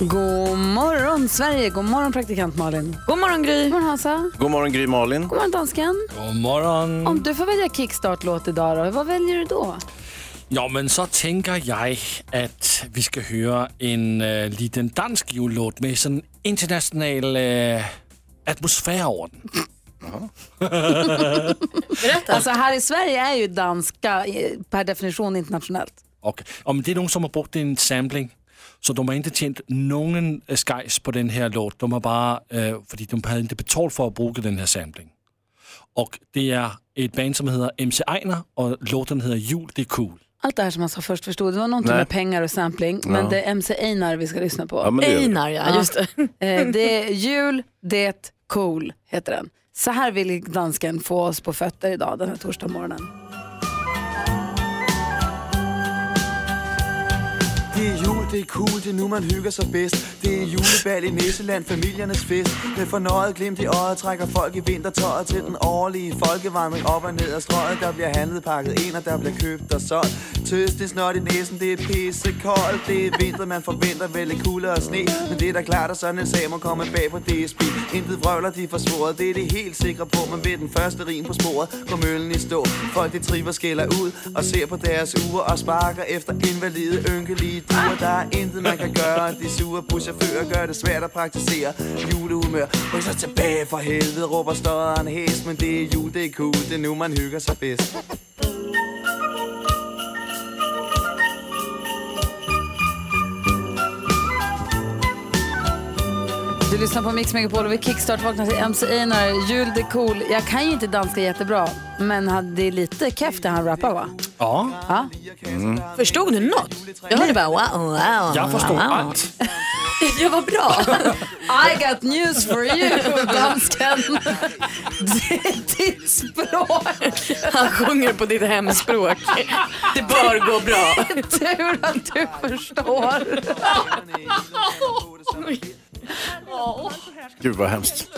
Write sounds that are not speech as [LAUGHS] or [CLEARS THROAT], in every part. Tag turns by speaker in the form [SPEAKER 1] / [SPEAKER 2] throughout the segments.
[SPEAKER 1] God morgon Sverige, god morgon praktikant Malin. God morgon Gry. God morgon Hansa. Mm.
[SPEAKER 2] God morgon Gry Malin.
[SPEAKER 1] God morgon dansken.
[SPEAKER 3] God morgon.
[SPEAKER 1] Om du får välja kickstart-låt idag då, vad väljer du då?
[SPEAKER 3] Ja, men så tänker jag att vi ska höra en eh, liten dansk jullåt med sådan internationell eh, atmosfär över den. [LAUGHS]
[SPEAKER 1] Alltså här i Sverige är ju danska eh, per definition internationellt.
[SPEAKER 3] Och om det är någon som har brukt en sampling, så de har inte tjänat någon eh, skejs på den här låten. De har bara, eh, för de hade inte betalt för att bruka den här sampling. Och det är ett band som heter MC Einar och låten heter Jul, det är cool.
[SPEAKER 1] Allt det här som man sa först förstod, det var någonting
[SPEAKER 2] Nej.
[SPEAKER 1] med pengar och sampling, men
[SPEAKER 2] Ja.
[SPEAKER 1] det är MC Einar vi ska lyssna på.
[SPEAKER 2] Ja, men det gör vi.
[SPEAKER 4] Einar ja, just det.
[SPEAKER 1] Eh, Det [LAUGHS] är jul, det, cool heter den. Så här vill dansken få oss på fötter idag den här torsdag morgonen.
[SPEAKER 5] Det er jul, det er cool, det er nu man hygger sig bedst Det er julebal i Næsseland, familiernes fest Med fornøjet glimt i øjet trækker folk i vintertøjet Til den årlige folkevandring op og ned ad strøget Der bliver handlet pakket ind, og der bliver købt og solgt Tøst, det er snot i næsen, det er pissekoldt Det er vinter, man forventer vel lidt kulde og sne Men det er da klart, at sådan en sag må komme bag på DSB Intet vrøvler, de får svoret, det er det helt sikre på Men ved den første rim på sporet, går møllen i stå Folk de triver skælder ud og ser på deres uger Og sparker efter invalide ynkelige duer Der er intet man kan gøre De sure buschauffører gør det svært at praktisere Julehumør Ryk så tilbage for helvede Råber stodderen hæs Men det er jul, det er cool Det er nu man hygger sig bedst
[SPEAKER 1] Du lyssnar på Mix Megapol och vi kickstart vaknar till MC Einar, jul det är cool. Jag kan ju inte danska jättebra, men han- det är lite keff det han rappar va?
[SPEAKER 3] Ja, Mm.
[SPEAKER 1] Ja.
[SPEAKER 4] Förstod du något? Jag hörde bara wow, wow.
[SPEAKER 3] jag förstår
[SPEAKER 4] wow. [LAUGHS]
[SPEAKER 3] allt.
[SPEAKER 4] Jag var bra.
[SPEAKER 1] I got news for you, dansken.
[SPEAKER 4] [LAUGHS]
[SPEAKER 1] Det är ditt språk.
[SPEAKER 4] Han sjunger på ditt hemspråk. Det bör gå bra.
[SPEAKER 1] Tur att du förstår.
[SPEAKER 2] Gud vad hemskt.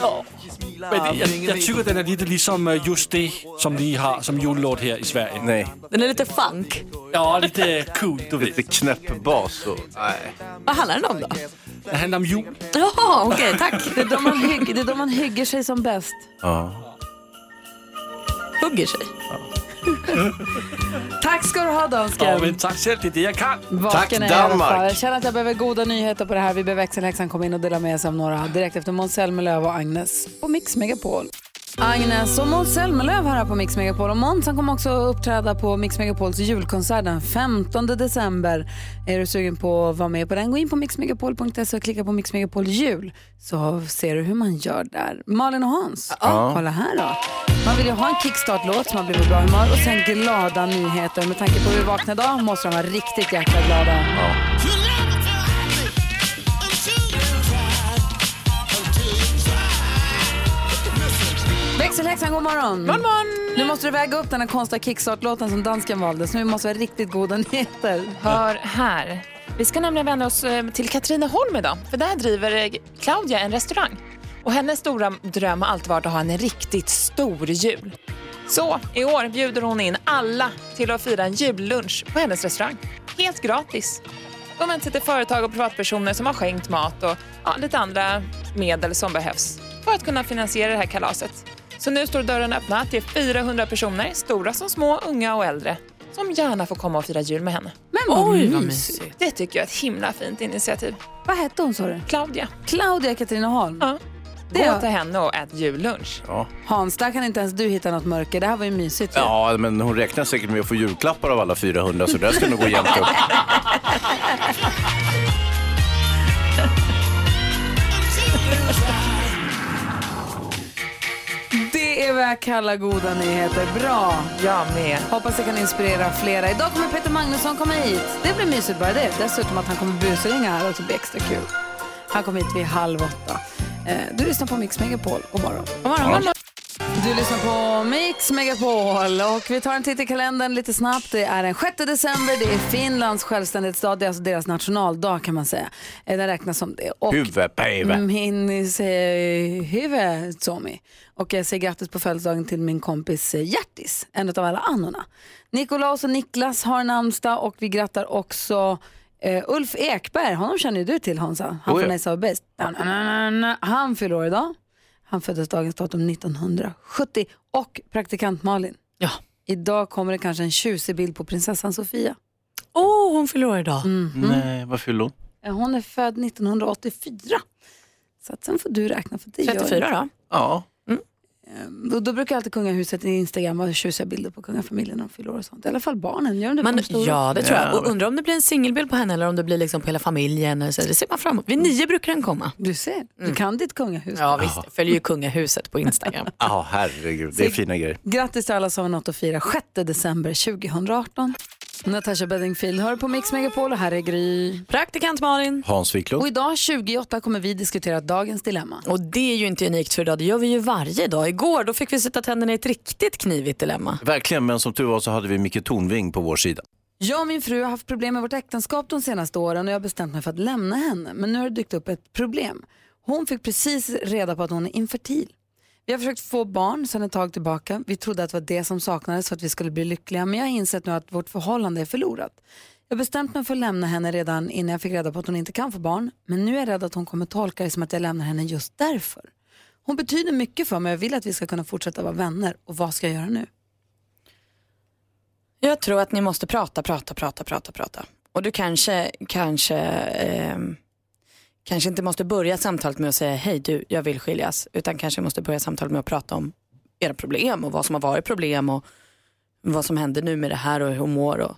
[SPEAKER 3] Men jag, jag tycker den är lite liksom eh, just det som vi har som jullåt här i Sverige.
[SPEAKER 2] Nej.
[SPEAKER 4] Den är lite funk.
[SPEAKER 3] Ja, lite cool, du vet.
[SPEAKER 2] Lite knäpp bas och... Nej.
[SPEAKER 4] Vad handlar den om då?
[SPEAKER 3] Det handlar om jul.
[SPEAKER 4] Jaha, okej, tack.
[SPEAKER 1] [LAUGHS] Det är då man hygg- det är då man hygger sig som bäst.
[SPEAKER 2] Ja.
[SPEAKER 4] Hugger sig.
[SPEAKER 1] Tack ska du ha dansken.
[SPEAKER 3] Ja, men tack själv, det är det jag kan.
[SPEAKER 2] Tack,
[SPEAKER 1] Vaken är jag i alla
[SPEAKER 2] Danmark.
[SPEAKER 1] fall. Jag känner att jag behöver goda nyheter på det här. Vi behöver växelhäxan komma in och dela med sig av några direkt efter Måns Zelmerlöw och Agnes på Mix Megapol. Agnes och Måns Zelmerlöw här på Mix Megapol och Måns han kommer också uppträda på Mix Megapols julkonsert den 15 december. Är du sugen på att vara med på den, gå in på mixmegapol.se och klicka på Mix Megapol jul så ser du hur man gör där. Malin och Hans, kolla här då. Man vill ju ha en kickstart-låt som man blir på bra humör och sen glada nyheter. Med tanke på hur vi vaknade idag måste de vara riktigt jäkla glada. Växelhäxan, god morgon. God morgon. Nu måste du väga upp den här konstiga kickstart-låten som dansken valde, så nu måste vi ha riktigt goda nyheter.
[SPEAKER 6] Hör här. Vi ska nämligen vända oss eh, till Katrineholm idag, för där driver eh, Claudia en restaurang. Och hennes stora dröm har alltid varit att ha en riktigt stor jul. Så i år bjuder hon in alla till att fira en jullunch på hennes restaurang. Helt gratis. De vänder sig till företag och privatpersoner som har skänkt mat och ja, lite andra medel som behövs för att kunna finansiera det här kalaset. Så nu står dörren öppna till 400 personer, stora som små, unga och äldre, som gärna får komma och fira jul med henne.
[SPEAKER 1] Men vad Oj,
[SPEAKER 4] vad
[SPEAKER 1] mysigt.
[SPEAKER 6] Det tycker jag är ett himla fint initiativ.
[SPEAKER 1] Vad hette hon sa du?
[SPEAKER 6] Claudia,
[SPEAKER 1] Claudia Katrineholm.
[SPEAKER 6] Ja.
[SPEAKER 1] Det
[SPEAKER 6] gå
[SPEAKER 1] är-
[SPEAKER 6] till henne och ät jullunch.
[SPEAKER 1] Hans, där kan inte ens du hitta något mörker. Det här var ju mysigt. ju.
[SPEAKER 2] ja, men hon räknar säkert med att få julklappar av alla 400 så det här ska nog gå jämnt upp.
[SPEAKER 1] Det är vad jag kallar goda nyheter. Bra.
[SPEAKER 6] Jag med.
[SPEAKER 1] Hoppas det kan inspirera flera. Idag kommer Peter Magnusson komma hit. Det blir mysigt bara det. Dessutom att han kommer busringa här också blir extra kul. Han kommer hit vid halv åtta. Eh, Du lyssnar på Mix Megapol. God morgon.
[SPEAKER 6] God morgon, god morgon.
[SPEAKER 1] Du lyssnar på Mix Megapol och vi tar en titt i kalendern lite snabbt. Det är den 6 december, det är Finlands självständighetsdag, det är alltså deras nationaldag kan man säga. Eh, Den räknas som det. [LAUGHS] Och
[SPEAKER 2] Huvudpäve.
[SPEAKER 1] Mm, min säger huvud, Tommy. Och jag säger grattis på födelsedagen till min kompis eh, Hjärtis, en av alla annorna. Nikolaus och Niklas har namnsdag och vi grattar också eh, Ulf Ekberg, honom känner ju du till Hansa, han
[SPEAKER 2] Oh ja.
[SPEAKER 1] från Ace of Base. Han fyller år idag. Han föddes dagens datum 1970 och praktikant Malin.
[SPEAKER 4] Ja.
[SPEAKER 1] Idag kommer det kanske en tjusig bild på prinsessan Sofia.
[SPEAKER 4] Åh, oh, hon förlorar idag.
[SPEAKER 2] Mm.
[SPEAKER 1] Mm-hmm.
[SPEAKER 2] Nej, vad fyller hon?
[SPEAKER 1] Eh, Hon är född 1984. Så att sen får du räkna för det gör
[SPEAKER 4] 34 då.
[SPEAKER 2] Ja.
[SPEAKER 1] Då, då brukar alltid kungahuset i Instagram ha tjusiga bilder på kungafamiljen när de fyller år och sånt. I alla fall barnen, gör de det? på
[SPEAKER 4] Man,
[SPEAKER 1] de stora?
[SPEAKER 4] ja, det tror jag.
[SPEAKER 2] Ja.
[SPEAKER 4] Och undrar om det blir en singelbild på henne eller om det blir liksom på hela familjen. eller Så det ser man fram emot. Vid nio brukar den komma. Mm.
[SPEAKER 1] Du ser, du kan ditt kungahus.
[SPEAKER 4] Ja, visst. Jag Följer ju kungahuset på
[SPEAKER 1] [LAUGHS]
[SPEAKER 4] Instagram.
[SPEAKER 2] Ja, herregud. Det är fina grejer.
[SPEAKER 1] Grattis till alla som har något att fira 6 december 2018. Natasha Bedingfield hör på Mix Megapol och här är Gry.
[SPEAKER 4] Praktikant Malin.
[SPEAKER 2] Hans
[SPEAKER 1] Och
[SPEAKER 2] Wiklund.
[SPEAKER 1] idag 28 kommer vi diskutera dagens dilemma.
[SPEAKER 4] Och det är ju inte unikt för idag, det gör vi ju varje dag. Igår då fick vi sätta tänderna i ett riktigt knivigt dilemma.
[SPEAKER 2] Verkligen, men som tur var så hade vi Micke Tornving på vår sida.
[SPEAKER 1] Jag och min fru har haft problem med vårt äktenskap de senaste åren och jag har bestämt mig för att lämna henne. Men nu har det dykt upp ett problem. Hon fick precis reda på att hon är infertil. Vi har försökt få barn sedan ett tag tillbaka. Vi trodde att det var det som saknades för att vi skulle bli lyckliga men jag har insett nu att vårt förhållande är förlorat. Jag har bestämt mig för att lämna henne redan innan jag fick reda på att hon inte kan få barn men nu är jag rädd att hon kommer tolka det som att jag lämnar henne just därför. Hon betyder mycket för mig och jag vill att vi ska kunna fortsätta vara vänner och vad ska jag göra nu?
[SPEAKER 4] Jag tror att ni måste prata, prata, prata, prata, prata. Och du kanske, kanske, ehm, kanske inte måste börja samtalet med att säga hej du, jag vill skiljas. Utan kanske måste börja samtalet med att prata om era problem och vad som har varit problem och vad som händer nu med det här och hur hon mår. Och,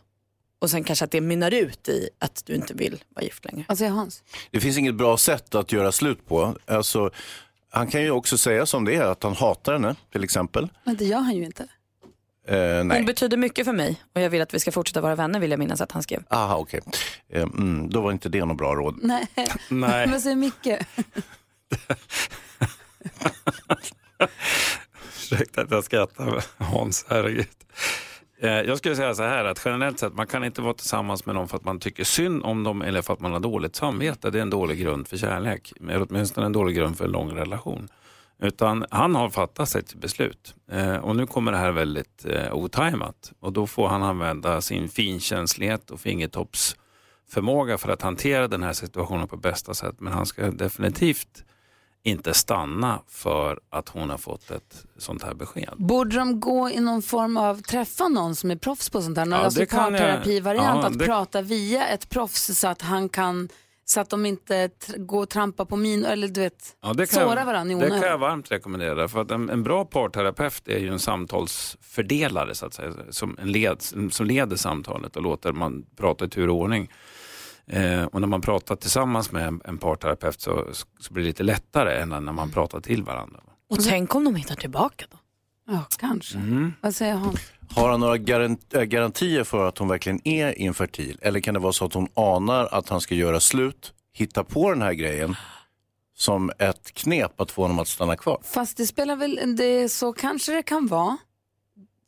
[SPEAKER 4] och sen kanske att det mynnar ut i att du inte vill vara gift längre.
[SPEAKER 1] Alltså Hans?
[SPEAKER 2] Det finns inget bra sätt att göra slut på. Alltså, han kan ju också säga som det är, att han hatar henne till exempel.
[SPEAKER 1] Men det gör han ju inte.
[SPEAKER 2] Eh,
[SPEAKER 1] Mm.
[SPEAKER 4] Hon
[SPEAKER 2] nej.
[SPEAKER 4] betyder mycket för mig och jag vill att vi ska fortsätta vara vänner vill jag minnas att han skrev.
[SPEAKER 2] Aha, okej. Eh, mm, då var inte det något bra råd.
[SPEAKER 1] Nej.
[SPEAKER 3] Nej.
[SPEAKER 1] Mm. Men säger Micke.
[SPEAKER 7] Ursäkta att jag skrattar Hans, herregud. Eh, Jag skulle säga så här att generellt sett, man kan inte vara tillsammans med någon för att man tycker synd om dem eller för att man har dåligt samvete. Det är en dålig grund för kärlek, eller åtminstone en dålig grund för en lång relation. Utan han har fattat sitt beslut eh, och nu kommer det här väldigt eh, otajmat och då får han använda sin finkänslighet och fingertoppsförmåga för att hantera den här situationen på bästa sätt. Men han ska definitivt inte stanna för att hon har fått ett sånt här besked.
[SPEAKER 1] Borde de gå i någon form av, träffa någon som är proffs på sånt här? Någon
[SPEAKER 7] Ja,
[SPEAKER 1] alltså
[SPEAKER 7] det kan jag-
[SPEAKER 1] parterapivariant,
[SPEAKER 7] ja,
[SPEAKER 1] att
[SPEAKER 7] det-
[SPEAKER 1] prata via ett proffs så att han kan, så att de inte tr- går och trampar på min, eller du vet,
[SPEAKER 7] Ja, det kan
[SPEAKER 1] såra
[SPEAKER 7] jag,
[SPEAKER 1] varandra i
[SPEAKER 7] Det kan jag
[SPEAKER 1] onödan.
[SPEAKER 7] varmt rekommendera. För att en, en bra parterapeut är ju en samtalsfördelare så att säga, som, en led, som leder samtalet och låter man prata i tur och ordning. Eh, och när man pratar tillsammans med en, en parterapeut så, så blir det lite lättare än när man pratar till varandra.
[SPEAKER 4] Och tänk om de hittar tillbaka då?
[SPEAKER 1] Ja, kanske. Vad säger han?
[SPEAKER 2] Har han några garan- äh, garantier för att hon verkligen är infertil? Eller kan det vara så att hon anar att han ska göra slut, hitta på den här grejen som ett knep att få honom att stanna kvar?
[SPEAKER 1] Fast det spelar väl, det, så kanske det kan vara.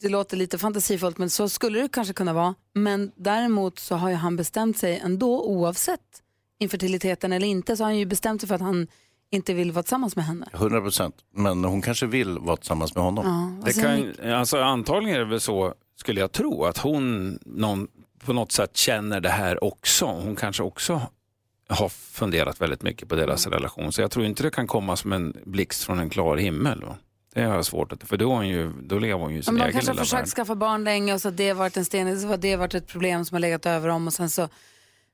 [SPEAKER 1] Det låter lite fantasifullt men så skulle det kanske kunna vara. Men däremot så har ju han bestämt sig ändå oavsett infertiliteten eller inte så har han ju bestämt sig för att han inte vill vara tillsammans med henne.
[SPEAKER 2] 100 procent. Men hon kanske vill vara tillsammans med honom.
[SPEAKER 1] Ja, vad
[SPEAKER 7] Det
[SPEAKER 1] säger ni?
[SPEAKER 7] kan, alltså, antagligen är det väl så, skulle jag tro, att hon någon, på något sätt känner det här också. Hon kanske också har funderat väldigt mycket på deras
[SPEAKER 1] Mm.
[SPEAKER 7] relation. Så jag tror inte det kan komma som en blixt från en klar himmel. Va? Det har jag svårt att... För då, är hon ju, då lever hon ju i
[SPEAKER 1] Ja,
[SPEAKER 7] sin
[SPEAKER 1] men de
[SPEAKER 7] egen
[SPEAKER 1] kanske
[SPEAKER 7] lilla
[SPEAKER 1] har försökt
[SPEAKER 7] värld.
[SPEAKER 1] skaffa barn länge och så har det varit en sten, så har det varit ett problem som har legat över om och sen så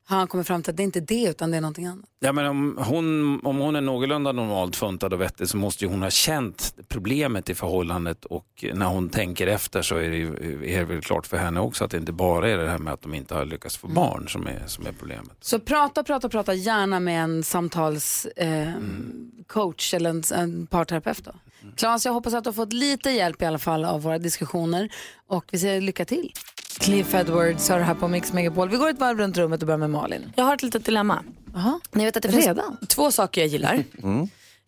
[SPEAKER 1] har han kommit fram till att det är inte det utan det är någonting annat.
[SPEAKER 7] Ja, men om, hon, om hon är någorlunda normalt funtad och vettig så måste ju hon ha känt problemet i förhållandet och när hon tänker efter så är det, ju, är det väl klart för henne också att det inte bara är det här med att de inte har lyckats få barn som är, som är problemet.
[SPEAKER 1] Så prata, prata, prata gärna med en samtalscoach eh, coach eller en, en parterapeut då. Claes, jag hoppas att du har fått lite hjälp i alla fall av våra diskussioner och vi säger lycka till. Cliff Edwards har det här på Mix Megapol. Vi går ett varv runt rummet och börjar med Malin.
[SPEAKER 4] Jag har ett litet dilemma.
[SPEAKER 1] Aha.
[SPEAKER 4] Ni vet att det
[SPEAKER 1] Redan?
[SPEAKER 4] finns två saker jag gillar.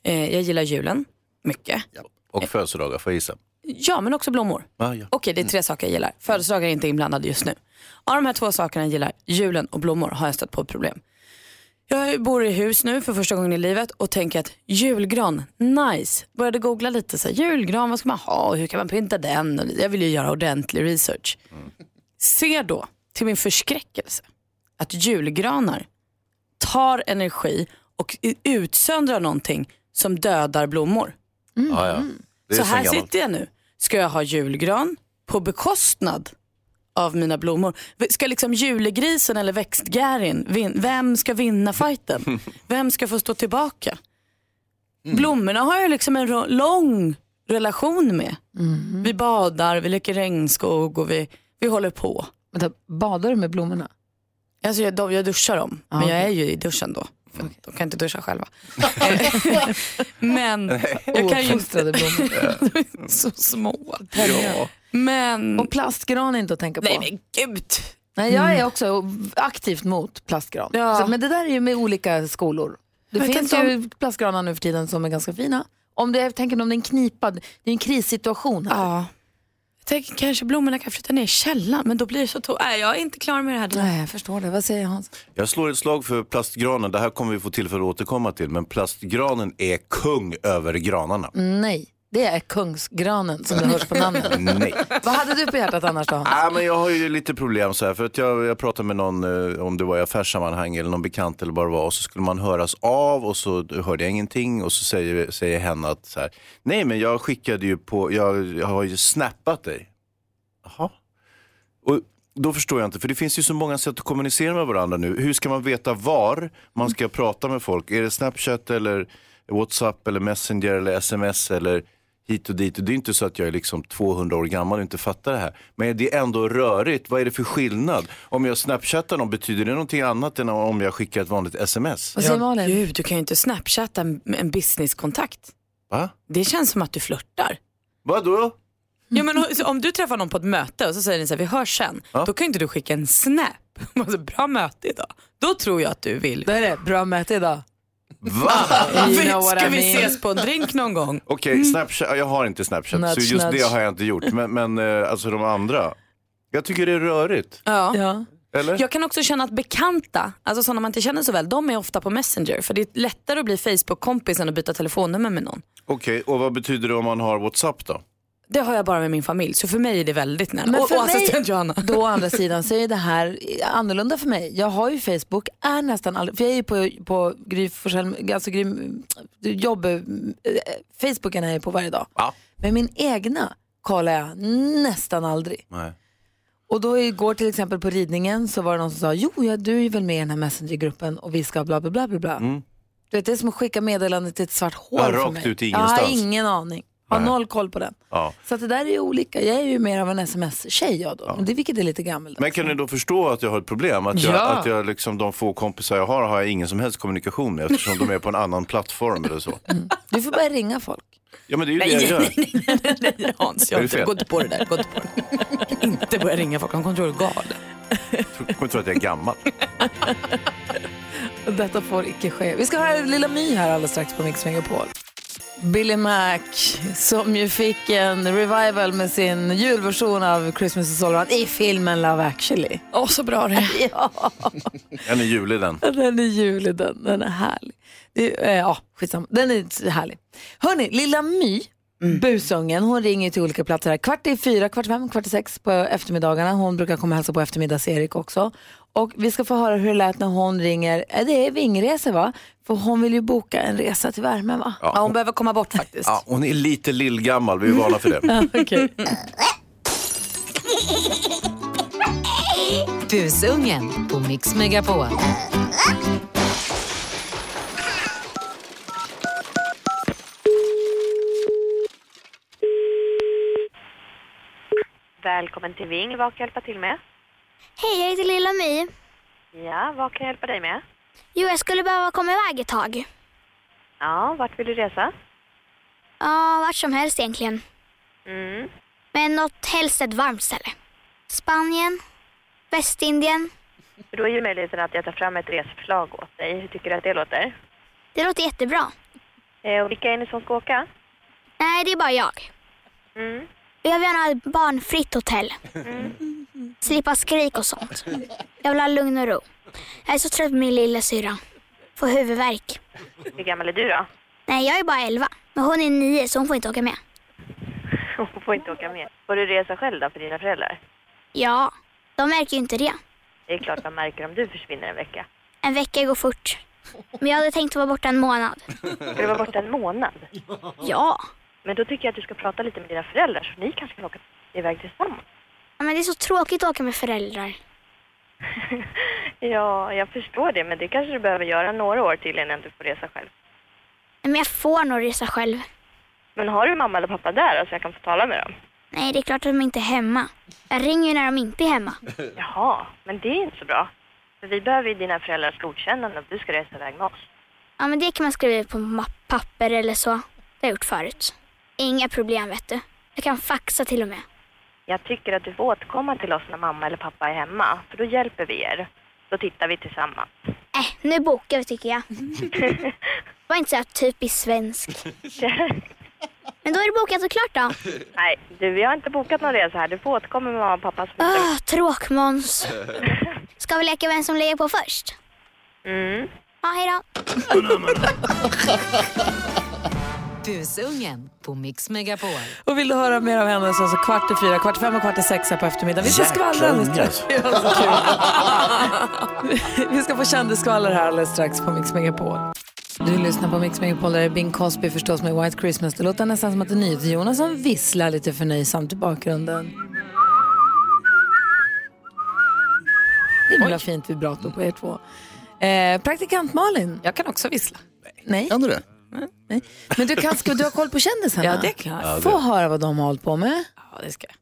[SPEAKER 4] Eh, jag gillar julen mycket.
[SPEAKER 2] mm, Och födelsedagar får jag gissa.
[SPEAKER 4] Ja, men också blommor.
[SPEAKER 2] Ah, ja.
[SPEAKER 4] Okej, det är tre saker jag gillar. Födelsedagar är inte inblandade just nu. Av de här två sakerna jag gillar, julen och blommor, har jag stött på problem. Jag bor i hus nu för första gången i livet och tänker att julgran, nice. Började googla lite, så här, julgran, vad ska man ha och hur kan man pynta den? Och Jag vill ju göra ordentlig research. Ser då, till min förskräckelse, att julgranar tar energi och i- utsöndrar någonting som dödar blommor.
[SPEAKER 2] Ah, ja. Det är
[SPEAKER 4] Mm. Så
[SPEAKER 2] så
[SPEAKER 4] här
[SPEAKER 2] gammalt.
[SPEAKER 4] sitter jag nu. Ska jag ha julgran på bekostnad av mina blommor? V- Ska liksom julegrisen eller växtgärin, vin- vem ska vinna
[SPEAKER 2] [LAUGHS]
[SPEAKER 4] fighten? Vem ska få stå tillbaka?
[SPEAKER 2] Mm.
[SPEAKER 4] Blommorna har jag liksom en ro- lång relation med.
[SPEAKER 1] Mhm.
[SPEAKER 4] Vi badar, vi leker regnskog och vi, vi håller på.
[SPEAKER 1] Vänta, badar du med blommorna?
[SPEAKER 4] Alltså jag, de, jag duschar dem,
[SPEAKER 1] Ja,
[SPEAKER 4] men jag
[SPEAKER 1] okej.
[SPEAKER 4] är ju i duschen då. För De kan inte duscha
[SPEAKER 2] [LAUGHS]
[SPEAKER 4] själva.
[SPEAKER 1] [LAUGHS]
[SPEAKER 4] men jag kan ju
[SPEAKER 1] Ouppfostrade
[SPEAKER 4] inte...
[SPEAKER 1] blommor.
[SPEAKER 2] [LAUGHS]
[SPEAKER 4] De är så små.
[SPEAKER 1] Ja.
[SPEAKER 4] Men...
[SPEAKER 1] Och plastgran är inte att tänka på.
[SPEAKER 4] Nej men gud.
[SPEAKER 1] Nej, jag är också aktivt mot plastgran.
[SPEAKER 4] Mm. Ja.
[SPEAKER 1] Så, men det där är ju med olika skolor. Det
[SPEAKER 4] Men
[SPEAKER 1] finns
[SPEAKER 4] tänk om-
[SPEAKER 1] ju plastgranar nu för tiden som är ganska fina. Om det, jag tänker om det är en knipad, det är en krissituation här.
[SPEAKER 4] Ja. Jag tänker kanske blommorna kan flytta ner i källaren men då blir det så torrt. Nej jag är inte klar med det här.
[SPEAKER 1] Nej, jag förstår det. Vad säger Hans?
[SPEAKER 2] Jag slår ett slag för plastgranen. Det här kommer vi få tillfälle att återkomma till. Men plastgranen är kung över granarna.
[SPEAKER 1] Nej, det är kungsgranen som
[SPEAKER 4] [LAUGHS]
[SPEAKER 1] det hörs på namnet.
[SPEAKER 2] Nej.
[SPEAKER 1] Vad hade du på hjärtat annars då?
[SPEAKER 2] Ah, men jag har ju lite problem så här, för att jag, jag pratade med någon, eh, om det var i affärssammanhang eller någon bekant eller vad det var, och så skulle man höras av och så hörde jag ingenting och så säger, säger hen att så här, nej men jag skickade ju på, jag, jag har ju snappat dig. Jaha. Och då förstår jag inte, för det finns ju så många sätt att kommunicera med varandra nu. Hur ska man veta var man ska prata med folk? Är det Snapchat eller WhatsApp eller Messenger eller SMS eller hit och dit? Det är inte så att jag är liksom 200 år gammal och inte fattar det här. Men det är ändå rörigt. Vad är det för skillnad? Om jag snapchattar någon, betyder det någonting annat än om jag skickar ett vanligt SMS?
[SPEAKER 1] Vad säger Malin?
[SPEAKER 4] Gud du kan ju inte snapchatta en, en businesskontakt.
[SPEAKER 2] Va?
[SPEAKER 4] Det känns som att du flörtar.
[SPEAKER 2] Vadå?
[SPEAKER 4] Ja, men om- om du träffar någon på ett möte och så säger ni så här, vi hörs sen. Då kan ju inte du skicka en snap. [LAUGHS] Alltså, bra möte idag. Då tror jag att du vill.
[SPEAKER 1] Det är det. Bra möte idag.
[SPEAKER 4] [LAUGHS]
[SPEAKER 2] Va?
[SPEAKER 1] [LAUGHS] You know what
[SPEAKER 4] Ska
[SPEAKER 1] I
[SPEAKER 4] vi
[SPEAKER 1] mean.
[SPEAKER 4] ses på en drink någon gång? Mm.
[SPEAKER 2] Okej, Snapchat, jag har inte Snapchat,
[SPEAKER 1] Nudge,
[SPEAKER 2] så just det
[SPEAKER 1] nudge.
[SPEAKER 2] har jag inte gjort. Men, men eh, alltså de andra. Jag tycker det är rörigt,
[SPEAKER 4] Ja.
[SPEAKER 1] Ja.
[SPEAKER 2] eller?
[SPEAKER 4] Jag kan också känna att bekanta, alltså sådana man inte känner så väl, de är ofta på Messenger. För det är lättare att bli Facebook-kompis än att byta telefonnummer med någon.
[SPEAKER 2] Okej, och vad betyder det om man har WhatsApp då?
[SPEAKER 4] Det har jag bara med min familj, så för mig är det väldigt nära.
[SPEAKER 1] Men
[SPEAKER 4] och,
[SPEAKER 1] för
[SPEAKER 4] och
[SPEAKER 1] mig-
[SPEAKER 4] assistent Johanna.
[SPEAKER 1] Då å andra sidan så är det här annorlunda för mig. Jag har ju Facebook, är nästan all... för jag är ju på, på Gry Forssell- alltså Gry, jobb, eh, Facebooken är jag på varje dag.
[SPEAKER 2] Ja.
[SPEAKER 1] Men min egna kollar jag nästan aldrig.
[SPEAKER 2] Nej.
[SPEAKER 1] Och då igår till exempel på ridningen så var det någon som sa, jo ja, du är väl med i den här messengergruppen och vi ska bla bla bla bla bla. Du vet, det är som att skicka meddelandet till ett svart hål
[SPEAKER 2] Mm. Ja,
[SPEAKER 1] för
[SPEAKER 2] rakt
[SPEAKER 1] mig.
[SPEAKER 2] ut i
[SPEAKER 1] Jag har
[SPEAKER 2] ingenstans.
[SPEAKER 1] ingen aning. Har
[SPEAKER 2] Nej.
[SPEAKER 1] noll koll på den.
[SPEAKER 2] Ja.
[SPEAKER 1] Så att det där är ju olika. Jag är ju mer av en sms-tjej jag då, Men det, vilket är lite gammaldags.
[SPEAKER 2] Men kan ni då förstå att jag har ett problem? Att, jag,
[SPEAKER 1] Ja.
[SPEAKER 2] att jag liksom, de få kompisar jag har har jag ingen som helst kommunikation med eftersom de är på en annan plattform eller så.
[SPEAKER 1] Du får börja ringa folk.
[SPEAKER 2] Ja men det är ju det jag gör.
[SPEAKER 4] Hans,
[SPEAKER 2] Är
[SPEAKER 4] jag
[SPEAKER 2] det
[SPEAKER 4] inte,
[SPEAKER 2] fel?
[SPEAKER 4] gå inte på det där. [LAUGHS] Gå inte på det. inte börja ringa folk, de kommer tro du är galen.
[SPEAKER 2] Jag kommer tro att jag är gammal.
[SPEAKER 1] Detta får icke ske. Vi ska höra Lilla My här alldeles strax på Mix Megapol. Billy Mac, som ju fick en revival med sin julversion av Christmas is all around i filmen Love actually.
[SPEAKER 4] Åh, så bra det
[SPEAKER 1] Ja,
[SPEAKER 2] Den är julig den.
[SPEAKER 1] den är julig den. Den är härlig. Det, eh, ja, skitsamma. Den är härlig. Hörni, Lilla My, busungen, hon ringer till olika platser här. Kvart i fyra, kvart i fem, kvart i sex på eftermiddagarna. Hon brukar komma och hälsa på eftermiddags-Erik också. Och vi ska få höra hur det lät när hon ringer. Eh, Det är vingresor va? För hon vill ju boka en resa till värmen va?
[SPEAKER 4] Ja, hon behöver komma bort faktiskt.
[SPEAKER 2] Ja, hon är lite lillgammal, vi är vana för det.
[SPEAKER 1] Okej.
[SPEAKER 8] Busungen på Mix Megapol.
[SPEAKER 9] Välkommen till Ving. Vad kan jag hjälpa till med?
[SPEAKER 10] Hej, jag heter Lilla My.
[SPEAKER 9] Ja, vad kan jag hjälpa dig med?
[SPEAKER 10] Jo, jag skulle behöva komma iväg ett tag.
[SPEAKER 9] Ja, vart vill du resa?
[SPEAKER 10] Ja, vart som helst egentligen.
[SPEAKER 9] Mm.
[SPEAKER 10] Men något helst ett varmt ställe. Spanien, Västindien.
[SPEAKER 9] För då är ju möjligheten att jag tar fram ett resförslag åt dig. Hur tycker du att det låter?
[SPEAKER 10] Det låter jättebra.
[SPEAKER 9] Eh, och vilka är ni som ska åka?
[SPEAKER 10] Nej, det är bara jag.
[SPEAKER 9] Mm.
[SPEAKER 10] Jag vill ha ett barnfritt hotell. Slippa skrik och sånt. Jag vill ha lugn och ro. Jag är så trött på min lilla syra. Får huvudvärk.
[SPEAKER 9] Hur gammal är du då? [LAUGHS]
[SPEAKER 10] Nej, jag är bara 11. Men hon är 9 så hon får inte åka med.
[SPEAKER 9] Hon får inte åka med. Får du resa själv då för dina föräldrar?
[SPEAKER 10] Ja, de märker ju inte det.
[SPEAKER 9] Det är klart de märker om du försvinner en vecka.
[SPEAKER 10] En vecka går fort. Men jag hade tänkt vara borta en månad.
[SPEAKER 9] Ska du vara borta en månad? [LAUGHS]
[SPEAKER 10] Ja.
[SPEAKER 9] Men då tycker jag att du ska prata lite med dina föräldrar så ni kanske kan åka iväg tillsammans.
[SPEAKER 10] Ja, Men det är så tråkigt att åka med föräldrar.
[SPEAKER 9] Ja, jag förstår det, men det kanske du behöver göra några år till innan du får resa själv.
[SPEAKER 10] Men jag får nog resa själv.
[SPEAKER 9] Men har du mamma eller pappa där då, så jag kan få tala med dem?
[SPEAKER 10] Nej, det är klart att de inte är hemma. Jag ringer ju när de inte är hemma.
[SPEAKER 9] [LAUGHS] Jaha, men det är inte så bra. För vi behöver ju dina föräldrars godkännande om du ska resa iväg med oss.
[SPEAKER 10] Ja, men det kan man skriva ut på ma- papper eller så. Det har jag gjort förut. Inga problem, vet du. Jag kan faxa till och med.
[SPEAKER 9] Jag tycker att du får återkomma till oss när mamma eller pappa är hemma, för då hjälper vi er. Då tittar vi tillsammans.
[SPEAKER 10] Äh, nu bokar vi
[SPEAKER 9] [LAUGHS]
[SPEAKER 10] tycker jag. Var inte så här typiskt svensk.
[SPEAKER 9] [LAUGHS]
[SPEAKER 10] Men då är det bokat och klart då.
[SPEAKER 9] Nej, du, vi har inte bokat någon resa här. Du får återkomma med mamma och pappa. Som...
[SPEAKER 10] Ah, tråkmåns. Ska vi leka vem som lägger på först?
[SPEAKER 9] Mm.
[SPEAKER 10] Ja, hej då.
[SPEAKER 8] Busungen på Mix Megapol.
[SPEAKER 1] [LAUGHS] Och vill du höra mer av henne så alltså kvart i fyra, kvart i fem och kvart i sex här på eftermiddagen. Vi ska skvallra alldeles strax. Ja, så kul. [LAUGHS] Vi ska få kändisskvaller här alldeles strax på Mix Megapol. Du lyssnar på Mix Megapol, där är Bing Cosby förstås med White Christmas. Det låter nästan som att det är NyhetsJonas som visslar lite förnöjsamt i bakgrunden. Himla fint vibrato på er två. Eh, praktikant Malin. Jag kan också vissla. Nej. Kan du det? Nej. Men du, kan, ska, du har koll på kändisarna?
[SPEAKER 4] Ja, det är klart. Ja, det-
[SPEAKER 1] Få höra vad de har hållit på med.
[SPEAKER 4] Ja, det ska jag.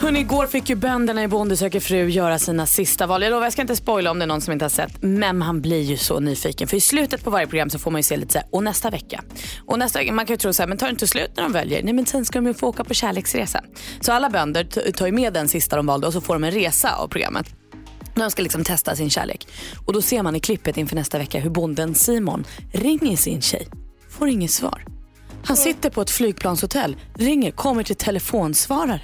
[SPEAKER 4] Hörrni, igår fick ju bönderna i Bonde söker fru göra sina sista val. Jag lovar, jag ska inte spoila om det är någon som inte har sett. Men man blir ju så nyfiken. För i slutet på varje program så får man ju se lite så här, och nästa vecka. Och nästa vecka, man kan ju tro så här, men tar det inte slut när de väljer? Nej, men sen ska de ju få åka på kärleksresa. Så alla bönder t- tar ju med den sista de valde och så får de en resa av programmet. De ska liksom testa sin kärlek. Och då ser man i klippet inför nästa vecka hur bonden Simon ringer sin tjej. Får inget svar. Han sitter på ett flygplanshotell, ringer, kommer till telefonsvararen.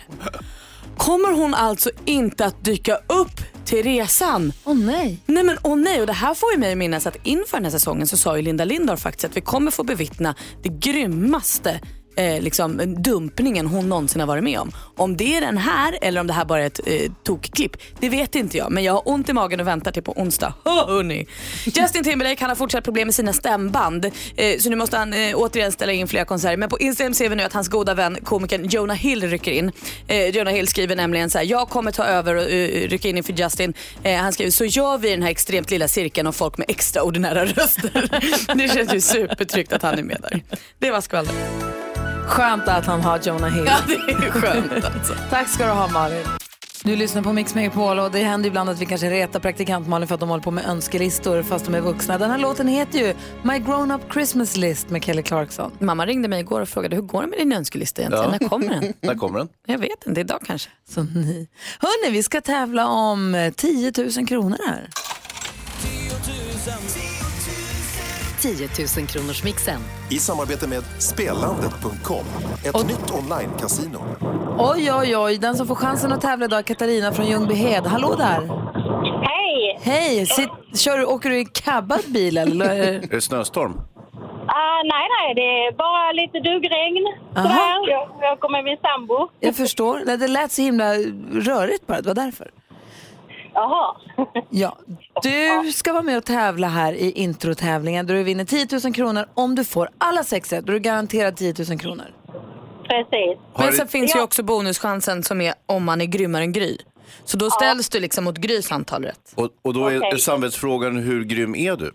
[SPEAKER 4] Kommer hon alltså inte att dyka upp till resan?
[SPEAKER 1] Åh nej.
[SPEAKER 4] Nej men åh nej, och det här får ju mig att minnas att inför den här säsongen så sa ju Linda Lindor faktiskt att vi kommer få bevittna det grymmaste eh, liksom, dumpningen hon någonsin har varit med om. Om det är den här eller om det här bara är ett eh, tokklipp, det vet inte jag. Men jag har ont i magen och väntar till på onsdag. [LAUGHS] Hå, hörni. Justin Timberlake han har fortsatt problem med sina stämband. Eh, så nu måste han eh, återigen ställa in flera konserter. Men på Instagram ser vi nu att hans goda vän komikern Jonah Hill rycker in. Eh, Jonah Hill skriver nämligen så här, jag kommer ta över och eh, rycka in inför Justin. Eh, han skriver, så gör vi den här extremt lilla cirkeln av folk med extraordinära röster. det känns ju supertryggt att han är med där. Det var skvallret.
[SPEAKER 1] [LAUGHS] Skönt att han har Jonah Hill.
[SPEAKER 4] Ja, det är skönt alltså.
[SPEAKER 1] Tack ska du ha Malin. Du lyssnar på Mix Megapol och det händer ibland att vi kanske retar praktikant Malin för att de håller på med önskelistor fast de är vuxna. Den här låten heter ju My Grown Up Christmas List med Kelly Clarkson.
[SPEAKER 4] Mamma ringde mig igår och frågade, hur går det med din önskelista egentligen? När kommer
[SPEAKER 1] [LAUGHS]
[SPEAKER 4] den?
[SPEAKER 2] När kommer den?
[SPEAKER 4] Jag vet inte, idag kanske.
[SPEAKER 1] Så ni. Hörni, vi ska tävla om eh, 10 000 kronor här.
[SPEAKER 8] 10 000 kronors mixen.
[SPEAKER 11] I samarbete med spelandet.com, ett nytt online-casino.
[SPEAKER 1] Oj, oj, oj. Den som får chansen att tävla idag är Katarina från Ljungbyhed. Hallå där!
[SPEAKER 12] Hej!
[SPEAKER 1] Hej! Sitt, kör, du- åker du i cabbad bil
[SPEAKER 4] [LAUGHS]
[SPEAKER 1] eller?
[SPEAKER 2] Är det Eh, snöstorm?
[SPEAKER 12] Ah, nej, nej, det är bara lite duggregn.
[SPEAKER 1] Aha.
[SPEAKER 12] Sådär. Jag, jag kommer med min sambo.
[SPEAKER 1] Jag förstår. Nej, Det lät så himla rörigt bara, det var därför.
[SPEAKER 12] Jaha.
[SPEAKER 1] Ja, du ska vara med och tävla här i introtävlingen där du vinner 10 000 kronor om du får alla sex rätt. Då är du garanterad 10 000 kronor.
[SPEAKER 12] Precis.
[SPEAKER 4] Men sen finns ju också bonuschansen som är om man är grymmare än Gry. Så då ställs du liksom mot Grys antal rätt.
[SPEAKER 2] Och, och då är
[SPEAKER 12] Okej.
[SPEAKER 2] samvetsfrågan, hur grym är du?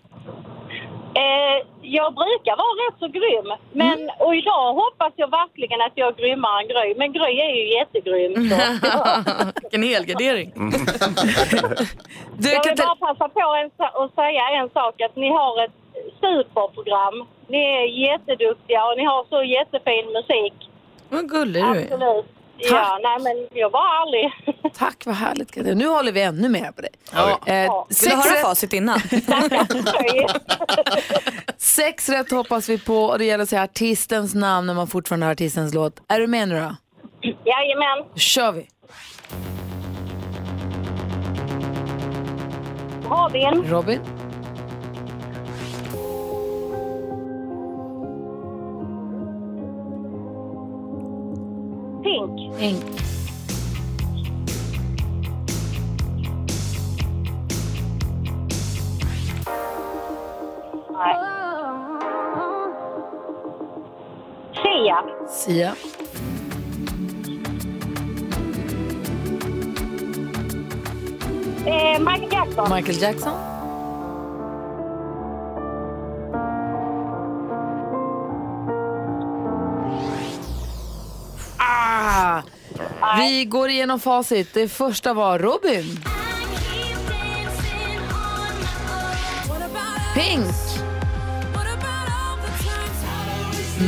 [SPEAKER 12] Eh, jag brukar vara rätt så grym. Men,
[SPEAKER 4] Mm.
[SPEAKER 12] Och idag hoppas jag verkligen att jag är grymmare än Gry. Men Gry är ju jättegrym. Så.
[SPEAKER 4] [LAUGHS] Vilken helgardering.
[SPEAKER 12] jag vill bara passa på en, sa- att säga en sak. Att ni har ett superprogram. Ni är jätteduktiga och ni har så jättefin musik.
[SPEAKER 4] Vad gullig du är.
[SPEAKER 12] Absolut. Ja, nej men jag var [LAUGHS] ärlig.
[SPEAKER 1] Tack, vad härligt. Katarina. Nu håller vi ännu mer på dig.
[SPEAKER 4] Ja.
[SPEAKER 1] Eh,
[SPEAKER 4] Vill du
[SPEAKER 1] sex
[SPEAKER 4] höra
[SPEAKER 1] rätt-
[SPEAKER 4] facit innan?
[SPEAKER 1] [LAUGHS] Sex rätt hoppas vi på och det gäller att säga artistens namn när man fortfarande har artistens låt. Är du med nu då?
[SPEAKER 12] Jajamän.
[SPEAKER 1] Då kör vi.
[SPEAKER 12] Robin.
[SPEAKER 1] Robin.
[SPEAKER 12] Pink.
[SPEAKER 1] Pink.
[SPEAKER 12] Nej. Sia.
[SPEAKER 1] Sia.
[SPEAKER 12] Eh, Michael Jackson.
[SPEAKER 1] Michael Jackson. Ah! Vi går igenom facit. Det första var Robin. Pink.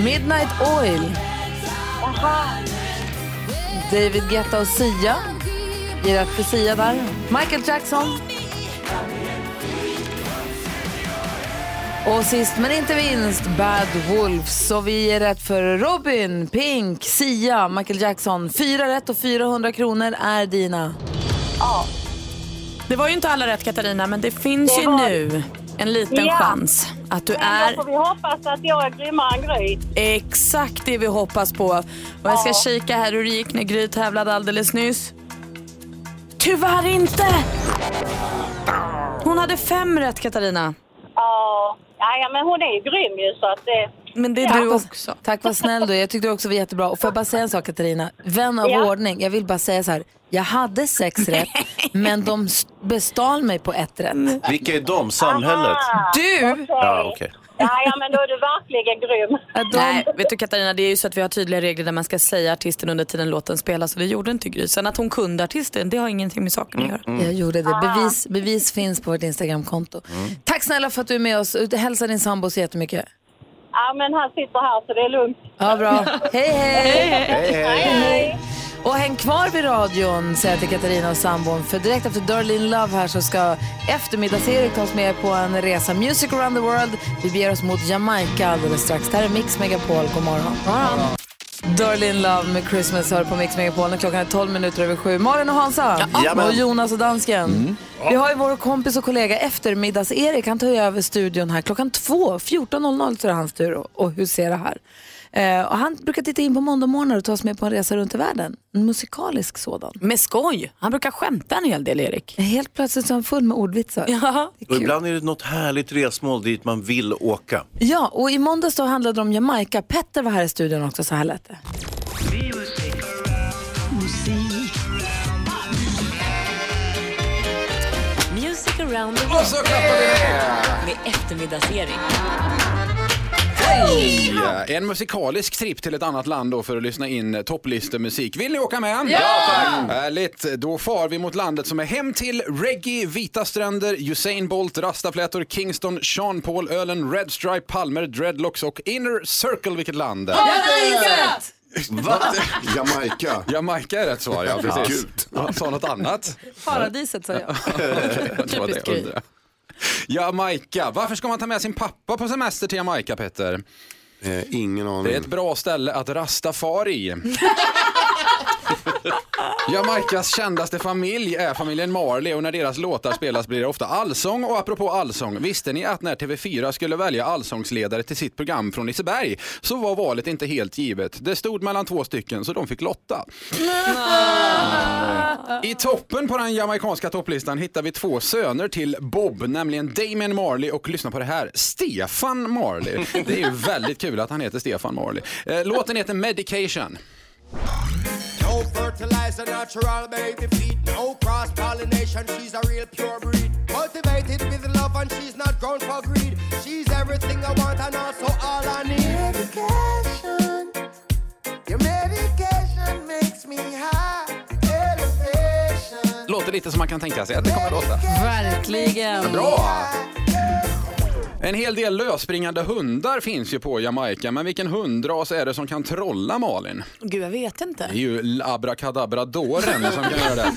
[SPEAKER 1] Midnight Oil. David Guetta och Sia. Ger rätt för Sia där. Michael Jackson. Och sist men inte minst Bad Wolves. Så vi ger rätt för Robin, Pink, Sia, Michael Jackson. Fyra rätt och 400 kronor är dina.
[SPEAKER 4] Det var ju inte alla rätt Katarina, men det finns
[SPEAKER 12] Det
[SPEAKER 4] ju
[SPEAKER 12] var-
[SPEAKER 4] nu en liten
[SPEAKER 12] Ja.
[SPEAKER 4] chans att du
[SPEAKER 12] Men
[SPEAKER 4] är
[SPEAKER 12] då får vi hoppas att jag är grymmare än Gry.
[SPEAKER 4] exakt det vi hoppas på. Och jag ska
[SPEAKER 12] Ja.
[SPEAKER 4] kika här hur det gick när Gry tävlade alldeles nyss. Tyvärr inte! Hon hade fem rätt Katarina.
[SPEAKER 12] Ja, ja, men hon är ju grym ju så att det...
[SPEAKER 4] Men det är
[SPEAKER 12] ja.
[SPEAKER 4] du också.
[SPEAKER 1] Tack vad snäll du är. Jag tyckte du också var jättebra. Och får jag bara säga en sak Katarina? Vän av
[SPEAKER 12] Ja.
[SPEAKER 1] ordning, jag vill bara säga så här. Jag hade sex rätt, men de s- bestal mig på ett
[SPEAKER 4] Mm.
[SPEAKER 1] rätt.
[SPEAKER 2] Vilka är de? Samhället?
[SPEAKER 12] Ah,
[SPEAKER 1] Du?
[SPEAKER 12] okej.
[SPEAKER 2] Ja, okej.
[SPEAKER 12] Ja, ja, men då är du verkligen grym.
[SPEAKER 4] [LAUGHS] Nej, vet du Katarina, det är ju så att vi har tydliga regler där man ska säga artisten under tiden låten spelas och det gjorde inte Gry. Sen att hon kunde artisten, det har ingenting med saken att göra.
[SPEAKER 1] Jag gjorde det.
[SPEAKER 4] Ah.
[SPEAKER 1] Bevis, bevis finns på vårt Instagramkonto. Tack snälla för att du är med oss. Hälsa din sambo så jättemycket.
[SPEAKER 12] Ja, men han sitter här så det är lugnt.
[SPEAKER 1] Ja, bra. Hej, hej!
[SPEAKER 12] Hej, hej. Hej, hej.
[SPEAKER 1] Och häng kvar vid radion, säger jag till Katarina och sambon. För direkt efter Darlene Love här så ska eftermiddags-Erik ta oss med på en resa. Music around the world. Vi beger oss mot Jamaica alldeles strax. Det här är Mix Megapol. God morgon. God morgon. Darlene Love med Christmas hör på Mix Megapol när klockan är 12 minuter över sju. Malin och Hansa
[SPEAKER 13] Jajamän.
[SPEAKER 1] och Jonas och dansken.
[SPEAKER 4] Mm.
[SPEAKER 1] Vi har ju vår kompis och kollega eftermiddags-Erik. Han tar ju över studion här klockan två. 14.00 så är det hans tur och- och husera här. Eh, och han brukar titta in på måndagmorgnar och ta oss med på en resa runt i världen. En musikalisk sådan.
[SPEAKER 4] Med skoj. Han brukar skämta en hel del, Erik.
[SPEAKER 1] Helt plötsligt så är han full med ordvitsar.
[SPEAKER 4] Ja.
[SPEAKER 2] Och ibland är det något härligt resmål dit man vill åka.
[SPEAKER 1] Ja, och i måndags då handlade det om Jamaica. Petter var här i studion också, så här lät det.
[SPEAKER 11] Music around the
[SPEAKER 14] Och så klappar vi!
[SPEAKER 11] Med eftermiddagsering.
[SPEAKER 14] Ja, En musikalisk tripp till ett annat land då för att lyssna in topplistemusik. Vill ni åka med?
[SPEAKER 15] Ja, tack!
[SPEAKER 14] Härligt! Då far vi mot landet som är hem till reggae, vita stränder, Usain Bolt, rastaflätor, Kingston, Sean Paul, ölen, Red Stripe, palmer, dreadlocks och Inner Circle. Vilket land? Va? Jamaica. Jamaica är rätt svar, ja precis. Han sa något annat.
[SPEAKER 1] Paradiset,
[SPEAKER 4] [LAUGHS]
[SPEAKER 1] sa jag.
[SPEAKER 14] Okej, det var det
[SPEAKER 1] alltså, Typiskt
[SPEAKER 14] [LAUGHS] jag
[SPEAKER 1] Gry.
[SPEAKER 14] undrade. Jamaica. Varför ska man ta med sin pappa på semester till Jamaica, Petter? Eh, ingen aning. Det är ett bra ställe att rasta far i. Jamaicas kändaste familj är familjen Marley och när deras låtar spelas blir det ofta allsång. Och apropå allsång, visste ni att när TV4 skulle välja allsångsledare till sitt program från Liseberg så var valet inte helt givet. Det stod mellan två stycken så de fick lotta. I toppen på den jamaicanska topplistan hittar vi två söner till Bob, nämligen Damien Marley och lyssna på det här, Stefan Marley. Det är ju väldigt kul att han heter Stefan Marley. Eh, Låten heter Medication.
[SPEAKER 15] [LAUGHS] No fertilizer, natural baby feed. No cross pollination, she's a real pure breed. Cultivated with love, and she's not grown for greed. She's everything I want, and also all I need. Medication, your medication makes me high. Elevation.
[SPEAKER 14] Låter lite som man kan tänka sig att det kommer att låta.
[SPEAKER 1] Verkligen.
[SPEAKER 14] Bra! Eh, En hel del lösspringande hundar finns ju på Jamaica, men vilken hundras är det som kan trolla Malin?
[SPEAKER 4] Gud, jag vet inte.
[SPEAKER 14] Det är ju abrakadabradoren som kan göra det.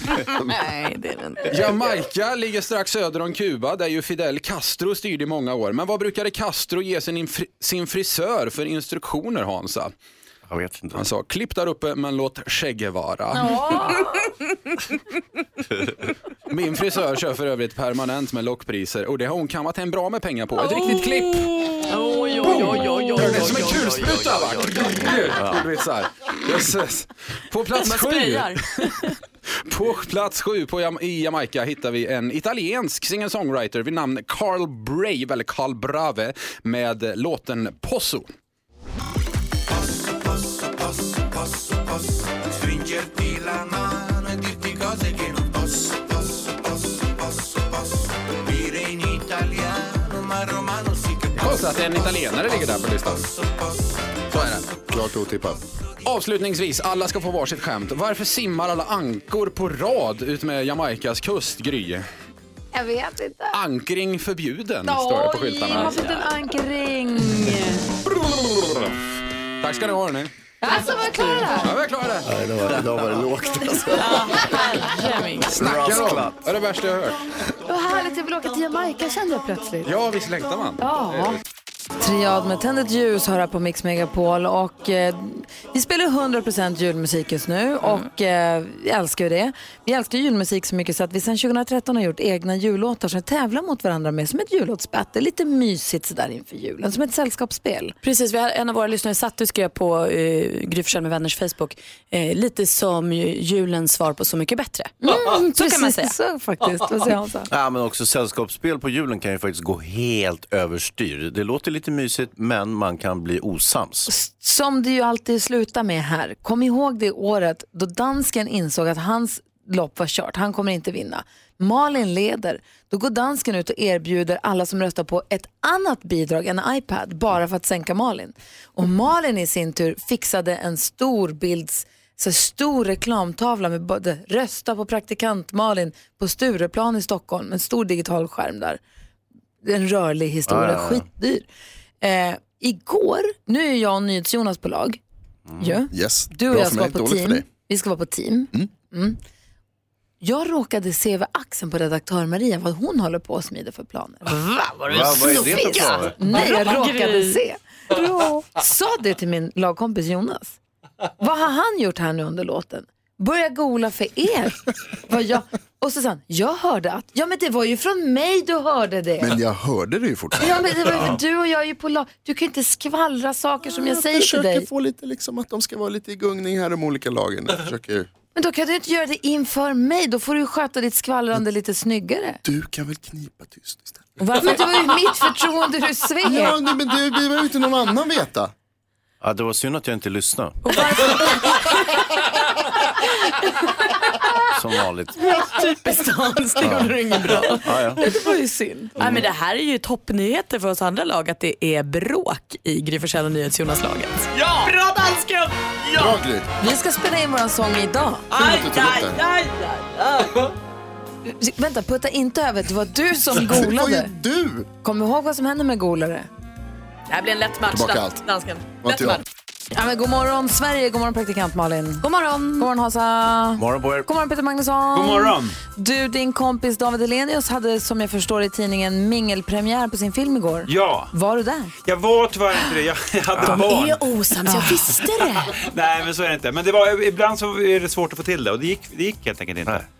[SPEAKER 4] Nej, det är det inte.
[SPEAKER 14] [LAUGHS] Jamaica ligger strax söder om Kuba där ju Fidel Castro styrde i många år. Men vad brukade Castro ge sin, infri- sin frisör för instruktioner Hansa?
[SPEAKER 2] Jag vet inte.
[SPEAKER 14] Han sa klipp där uppe men låt skägget vara. [LAUGHS] Min frisör kör för övrigt permanent med lockpriser och det har hon kammat hem bra med pengar på. Ett riktigt klipp.
[SPEAKER 4] Oj, oj, oj, oj,
[SPEAKER 14] Det är som en kulspruta va? Kulvitsar. Jösses. På plats
[SPEAKER 4] Man
[SPEAKER 14] sju.
[SPEAKER 4] sprayar.
[SPEAKER 14] På plats sju på Jam- i Jamaica hittar vi en italiensk singer-songwriter vid namn Carl Brave, eller Carl Brave, med låten Posso.
[SPEAKER 15] Posso, posso, posso, posso stringerti la mano e dirti cose che non posso, posso, posso, posso, posso dire in italiano, ma romano sì che
[SPEAKER 14] Konstigt att en italienare ligger där på listan. Så är det. Klart otippat. Avslutningsvis, alla ska få varsitt skämt. Varför simmar alla ankor på rad ut med Jamaicas kust, Gry?
[SPEAKER 1] Jag vet inte.
[SPEAKER 14] Ankring förbjuden, står det på
[SPEAKER 1] Oj, man
[SPEAKER 14] skyltarna.
[SPEAKER 1] har fått en ankring.
[SPEAKER 14] Tack ska ni ha, hörni.
[SPEAKER 1] Alltså, var klara
[SPEAKER 14] Ja, vi är klara där.
[SPEAKER 16] Nej, idag, idag var det lågt alltså.
[SPEAKER 14] Snackar de?
[SPEAKER 16] Rasklatt.
[SPEAKER 14] Det är det värsta jag har hört.
[SPEAKER 1] Vad härligt, jag vill åka till Jamaica kände jag plötsligt.
[SPEAKER 14] Ja, visst längtar man?
[SPEAKER 1] Ja. Triad med Tänd ett ljus hör här på Mix Megapol och eh, vi spelar 100% julmusik just
[SPEAKER 14] Mm.
[SPEAKER 1] nu och eh, vi älskar ju det. Vi älskar ju julmusik så mycket så att vi sedan 2013 har gjort egna jullåtar som vi tävlar mot varandra med som ett jullåtsbattle, lite mysigt sådär inför julen, som ett sällskapsspel.
[SPEAKER 4] Precis, vi har, en av våra lyssnare satt och skrev på eh, Gry Forssell med vänners Facebook, eh, lite som ju- julens svar på Så mycket bättre.
[SPEAKER 1] Mm,
[SPEAKER 4] så kan man
[SPEAKER 1] precis,
[SPEAKER 4] säga.
[SPEAKER 1] så faktiskt. Vad säger Hansa?
[SPEAKER 2] Ja, men också sällskapsspel på julen kan ju faktiskt gå helt överstyr. Det låter lite mysigt, men man kan bli osams.
[SPEAKER 1] Som det ju alltid slutar med här. Kom ihåg det året då dansken insåg att hans lopp var kört. Han kommer inte vinna. Malin leder. Då går dansken ut och erbjuder alla som röstar på ett annat bidrag, en iPad, bara för att sänka Malin. Och Malin i sin tur fixade en stor bilds så stor reklamtavla med både rösta på praktikant Malin på Stureplan i Stockholm, en stor digital skärm där. En rörlig historia,
[SPEAKER 11] Ja, ja, ja.
[SPEAKER 1] skitdyr. Eh, igår, nu är jag och NyhetsJonas på lag. Ja.
[SPEAKER 16] Yes.
[SPEAKER 1] Du och
[SPEAKER 16] Bra
[SPEAKER 1] jag
[SPEAKER 16] för
[SPEAKER 1] ska vara
[SPEAKER 16] mig,
[SPEAKER 1] på
[SPEAKER 16] dåligt för
[SPEAKER 1] team.
[SPEAKER 16] dig.
[SPEAKER 1] Vi ska vara på team. Mm. Jag råkade se över axeln på redaktör Maria vad hon håller på och smider för planer. Va?
[SPEAKER 11] Var
[SPEAKER 1] det Va, vad är det för
[SPEAKER 11] snofika?
[SPEAKER 1] planer? Nej, jag
[SPEAKER 11] Bra
[SPEAKER 1] råkade
[SPEAKER 11] grej.
[SPEAKER 1] se. Sa det till min lagkompis Jonas. Vad har han gjort här nu under låten? Börja gola för er. Vad jag... Och så sa han, jag hörde att, ja men det var ju från mig du hörde det.
[SPEAKER 16] Men jag hörde det ju fortfarande.
[SPEAKER 1] Ja men det var ju för du och jag är ju på lag, du kan ju inte skvallra saker som jag, säger till
[SPEAKER 16] försöker
[SPEAKER 1] dig.
[SPEAKER 16] få lite liksom att de ska vara lite i gungning här de olika lagen. Jag försöker...
[SPEAKER 1] Men då kan du inte göra det inför mig, då får du ju sköta ditt skvallrande lite snyggare.
[SPEAKER 16] Du kan väl knipa tyst istället.
[SPEAKER 1] Varför? Men det var ju mitt förtroende du svek.
[SPEAKER 16] Ja, nej, men det behöver ju inte någon annan veta.
[SPEAKER 2] Ja, det var synd att jag inte lyssnade, som
[SPEAKER 16] [LAUGHS]
[SPEAKER 2] vanligt.
[SPEAKER 4] Typiskt Hans, det gjorde du inget bra.
[SPEAKER 2] Ja, ja.
[SPEAKER 4] Det var ju synd. Ja, men det här är ju toppnyheter för oss andra lag att det är bråk i Gry Forssell och NyhetsJonas-laget.
[SPEAKER 11] Ja!
[SPEAKER 1] Bra dansken!
[SPEAKER 11] Ja! Bra,
[SPEAKER 16] Gry.
[SPEAKER 1] Vi ska spela in våran sång idag.
[SPEAKER 11] Aj, aj, aj, aj, aj.
[SPEAKER 1] Vänta, putta inte över. Det var du som
[SPEAKER 16] [LAUGHS] Det var ju
[SPEAKER 1] golade.
[SPEAKER 16] du!
[SPEAKER 1] Kom ihåg vad som händer med golare.
[SPEAKER 4] Det här blir en lätt match,
[SPEAKER 16] Tillbaka
[SPEAKER 4] dan-
[SPEAKER 16] allt.
[SPEAKER 4] dansken.
[SPEAKER 16] Var inte jag.
[SPEAKER 1] Ja, men god morgon Sverige, god morgon praktikant Malin. God
[SPEAKER 4] morgon.
[SPEAKER 1] God morgon Hansa.
[SPEAKER 2] Morgon på er. [CLEARS THROAT]
[SPEAKER 1] God morgon Peter Magnusson.
[SPEAKER 2] God morgon.
[SPEAKER 1] Du, din kompis David Hellenius hade som jag förstår i tidningen mingelpremiär på sin film igår.
[SPEAKER 17] Ja,
[SPEAKER 1] Var du där?
[SPEAKER 17] jag var tyvärr inte det. Jag, jag [LAUGHS] hade barn.
[SPEAKER 4] osams, jag visste det.
[SPEAKER 17] Nej, men så är det inte. Men det var, ibland så är det svårt att få till det och det gick, det gick helt enkelt inte. Nej,
[SPEAKER 1] [LAUGHS]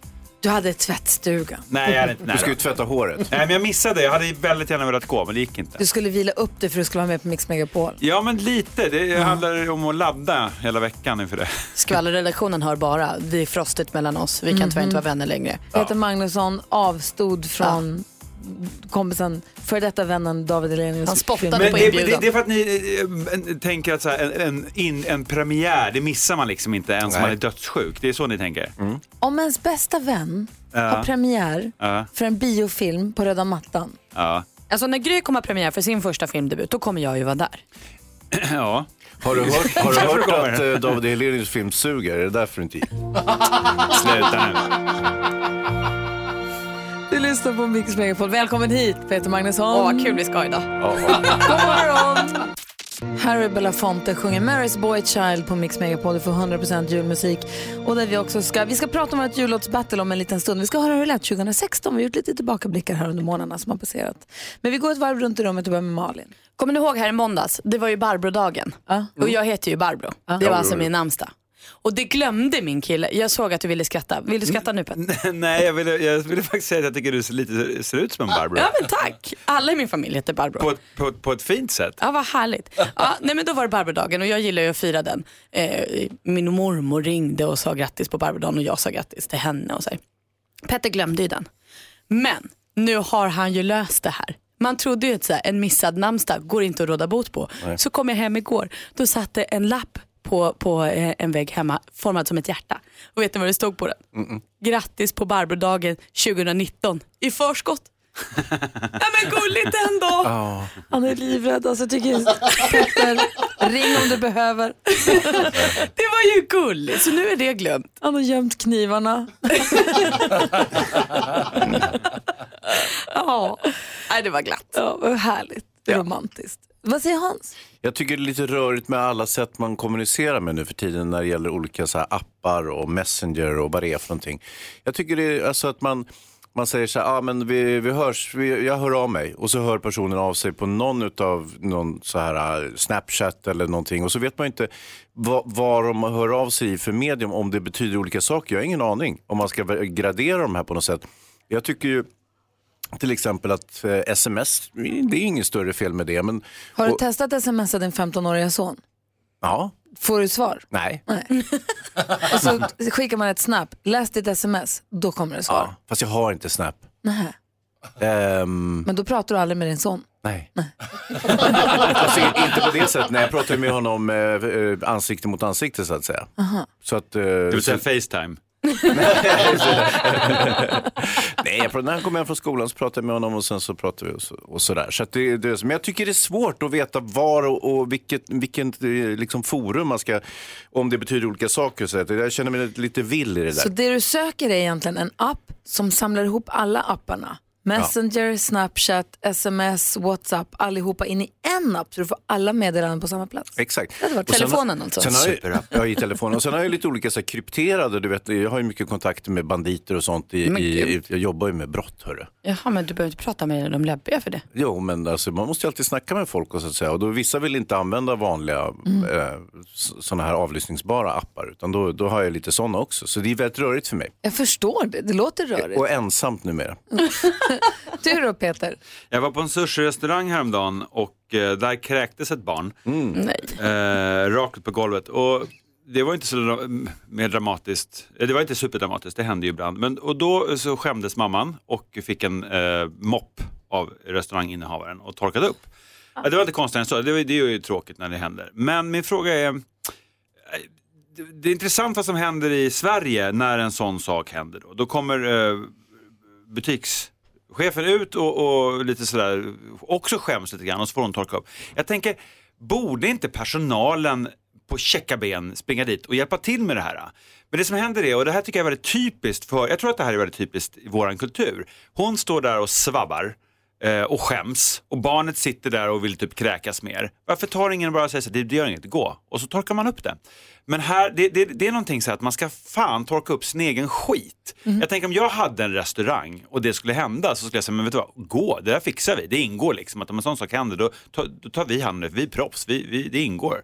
[SPEAKER 1] Du hade tvättstugan.
[SPEAKER 17] jag hade inte nära.
[SPEAKER 2] Du ska ju tvätta håret.
[SPEAKER 17] Nej, men jag missade. Jag hade väldigt gärna velat gå, men det gick inte.
[SPEAKER 1] Du skulle vila upp dig för att du skulle vara med på Mix Megapol.
[SPEAKER 17] Ja, men lite. Det handlar om att ladda hela veckan inför det.
[SPEAKER 4] Skvallerredaktionen hör bara, det är frostigt mellan oss, vi kan tyvärr inte vara vänner längre.
[SPEAKER 1] Peter Magnusson avstod från kompisen, före detta vännen David Hellenius.
[SPEAKER 4] Han spottade
[SPEAKER 1] film.
[SPEAKER 17] Men det, det, det är för att ni eh, eh, tänker att så här, en, en, in, en premiär, det missar man liksom inte ens om man är dödssjuk. Det är så ni tänker?
[SPEAKER 1] Om ens bästa vän Mm. har
[SPEAKER 17] Ja.
[SPEAKER 1] premiär
[SPEAKER 17] Ja.
[SPEAKER 1] för en biofilm på röda mattan.
[SPEAKER 17] Ja.
[SPEAKER 4] Alltså när Gry kommer ha premiär för sin första filmdebut, då kommer jag ju vara där.
[SPEAKER 17] ja.
[SPEAKER 2] Har du hört, har du
[SPEAKER 17] Därför
[SPEAKER 2] hört
[SPEAKER 17] kommer
[SPEAKER 2] att
[SPEAKER 17] det.
[SPEAKER 2] eh, David Helenius
[SPEAKER 16] [LAUGHS]
[SPEAKER 2] film suger? Är det därför du inte gick?
[SPEAKER 17] Sluta nu.
[SPEAKER 1] Du lyssnar på Mix Megapol. Välkommen hit Peter Magnusson.
[SPEAKER 4] Åh, vad kul vi ska idag.
[SPEAKER 1] [LAUGHS] God morgon! Harry Belafonte sjunger Mary's Boy Child på Mix Megapol. Du får 100% julmusik. Och där vi, också ska, vi ska prata om vårt jullåtsbattle om en liten stund. Vi ska höra hur det lät 2016. Vi har gjort lite tillbakablickar här under månaderna som har passerat. Men vi går ett varv runt i rummet och börjar med Malin.
[SPEAKER 4] Kommer ni ihåg här i måndags? Det var ju Barbro-dagen. Och jag heter ju Barbro. Det var alltså min namnsdag. Och det glömde min kille. Jag såg att du ville skratta. Vill du skratta nu Petter?
[SPEAKER 17] [LAUGHS] Nej, jag ville, jag ville faktiskt säga att jag tycker du ser, lite, ser ut som en Barbro.
[SPEAKER 4] Ja men tack. Alla i min familj heter Barbro.
[SPEAKER 17] På, ett- på, ett- på ett fint sätt.
[SPEAKER 4] Ja, vad härligt. Ja, nej, men då var det Barbrodagen och jag gillar ju att fira den. Eh, min mormor ringde och sa grattis på Barbrodagen och jag sa grattis till henne. Och så här. Petter glömde ju den. Men nu har han ju löst det här. Man trodde ju att så här, en missad namnsdag går inte att råda bot på.
[SPEAKER 11] Nej.
[SPEAKER 4] Så kom jag hem igår, då satt det en lapp på, på eh, en vägg hemma formad som ett hjärta. Och vet ni vad det stod på den? Grattis på Barbrodagen 2019 i förskott. ja men gulligt ändå.
[SPEAKER 1] Han är livrädd.
[SPEAKER 4] [LAUGHS]
[SPEAKER 1] Alltså, jag tycker Petter, ring om du behöver.
[SPEAKER 4] Det var ju gulligt, så nu är det glömt.
[SPEAKER 1] Han har gömt
[SPEAKER 4] [LAUGHS]
[SPEAKER 1] knivarna. ja.
[SPEAKER 4] Nej, det var glatt.
[SPEAKER 1] Ja, vad härligt. Romantiskt. Vad säger Hans?
[SPEAKER 2] Jag tycker det är lite rörigt med alla sätt man kommunicerar med nu för tiden när det gäller olika så här appar och messenger och vad det är för någonting. Jag tycker det är alltså att man, man säger så här, ah, men vi, vi hörs, vi, jag hör av mig och så hör personen av sig på någon utav någon så här eh, Snapchat eller någonting och så vet man inte vad, vad de hör av sig i för medium, om det betyder olika saker. Jag har ingen aning om man ska gradera de här på något sätt. Jag tycker ju till exempel att eh, sms, det är inget större fel med det. Men,
[SPEAKER 1] Har du
[SPEAKER 2] och-
[SPEAKER 1] testat att smsa din 15-åriga son?
[SPEAKER 2] Ja.
[SPEAKER 1] Får du svar?
[SPEAKER 2] Nej.
[SPEAKER 1] Och så skickar man ett snap. Läs ditt sms, då kommer det svar.
[SPEAKER 2] Ja, fast jag har inte Snap.
[SPEAKER 1] Nähä.
[SPEAKER 2] Ehm,
[SPEAKER 1] Men då pratar du aldrig med din son.
[SPEAKER 2] nej. [LAUGHS] alltså, inte på det sättet. Nej, jag pratar ju med honom eh, eh, ansikte mot ansikte så att säga.
[SPEAKER 1] Aha.
[SPEAKER 2] Så att, eh, du
[SPEAKER 17] vill säga
[SPEAKER 2] [LAUGHS] Facetime? Nej, jag pratar, när han kom hem från skolan så pratade jag med honom och sen så pratade vi och, så, och sådär. Så att det, det, är så- men jag tycker det är svårt att veta var och, och vilket, vilket eh, liksom forum man ska, om det betyder olika saker. och Så att jag känner mig lite vill i det där.
[SPEAKER 1] Så det du söker är egentligen en app som samlar ihop alla apparna. Messenger, Snapchat, sms, WhatsApp, allihopa in i en app så du får alla meddelanden på samma plats.
[SPEAKER 2] Exakt.
[SPEAKER 1] Det hade varit
[SPEAKER 2] Och
[SPEAKER 1] telefonen alltså.
[SPEAKER 2] Sen har jag,
[SPEAKER 1] Superapp.
[SPEAKER 2] ja, i telefonen. Och sen har jag lite olika så här, krypterade, du vet, jag har ju mycket kontakter med banditer och sånt. I,
[SPEAKER 4] Men
[SPEAKER 2] i, i, jag jobbar ju med brott, hörru.
[SPEAKER 4] Jaha, men du behöver inte prata med de läbbiga för det.
[SPEAKER 2] Jo, men alltså, man måste ju alltid snacka med folk och så att säga. Och då, vissa vill inte använda vanliga
[SPEAKER 4] Mm.
[SPEAKER 2] eh, sådana här avlyssningsbara appar, utan då, då har jag lite sådana också. Så det är väldigt rörigt för mig.
[SPEAKER 1] Jag förstår det, det låter rörigt.
[SPEAKER 2] Och ensamt numera.
[SPEAKER 1] Du då Peter?
[SPEAKER 17] Jag var på en sushi-restaurang häromdagen och eh, där kräktes ett barn. Eh, rakt upp på golvet. Och det var inte så dra- mer dramatiskt, Eh, det var inte superdramatiskt, det hände ju ibland. Men, och då eh, så skämdes mamman och fick en eh, mopp av restauranginnehavaren och torkade upp. Eh, Det var inte konstigt än så, det, var- det är ju tråkigt när det händer. Men min fråga är, eh, det- det är intressant vad som händer i Sverige när en sån sak händer. Då, då kommer eh, butikschefen ut och, och lite sådär, också skäms lite grann och så får hon torka upp. Jag tänker, borde inte personalen på checka ben springa dit och hjälpa till med det här? Men det som händer är, och det här tycker jag är väldigt typiskt för, jag tror att det här är väldigt typiskt i våran kultur. Hon står där och svabbar eh, och skäms och barnet sitter där och vill typ kräkas mer. Varför tar ingen bara och säger så här, det, det gör inget, gå. Och så torkar man upp det. Men här, det, det, det är någonting så här att man ska fan torka upp sin egen skit.
[SPEAKER 1] Mhm.
[SPEAKER 17] Jag tänker om jag hade en restaurang och det skulle hända så skulle jag säga, men vet du vad, gå, det där fixar vi. Det ingår liksom att om en sån sak händer då, ta, då tar vi hand om det, för vi är proffs, vi, vi, det ingår.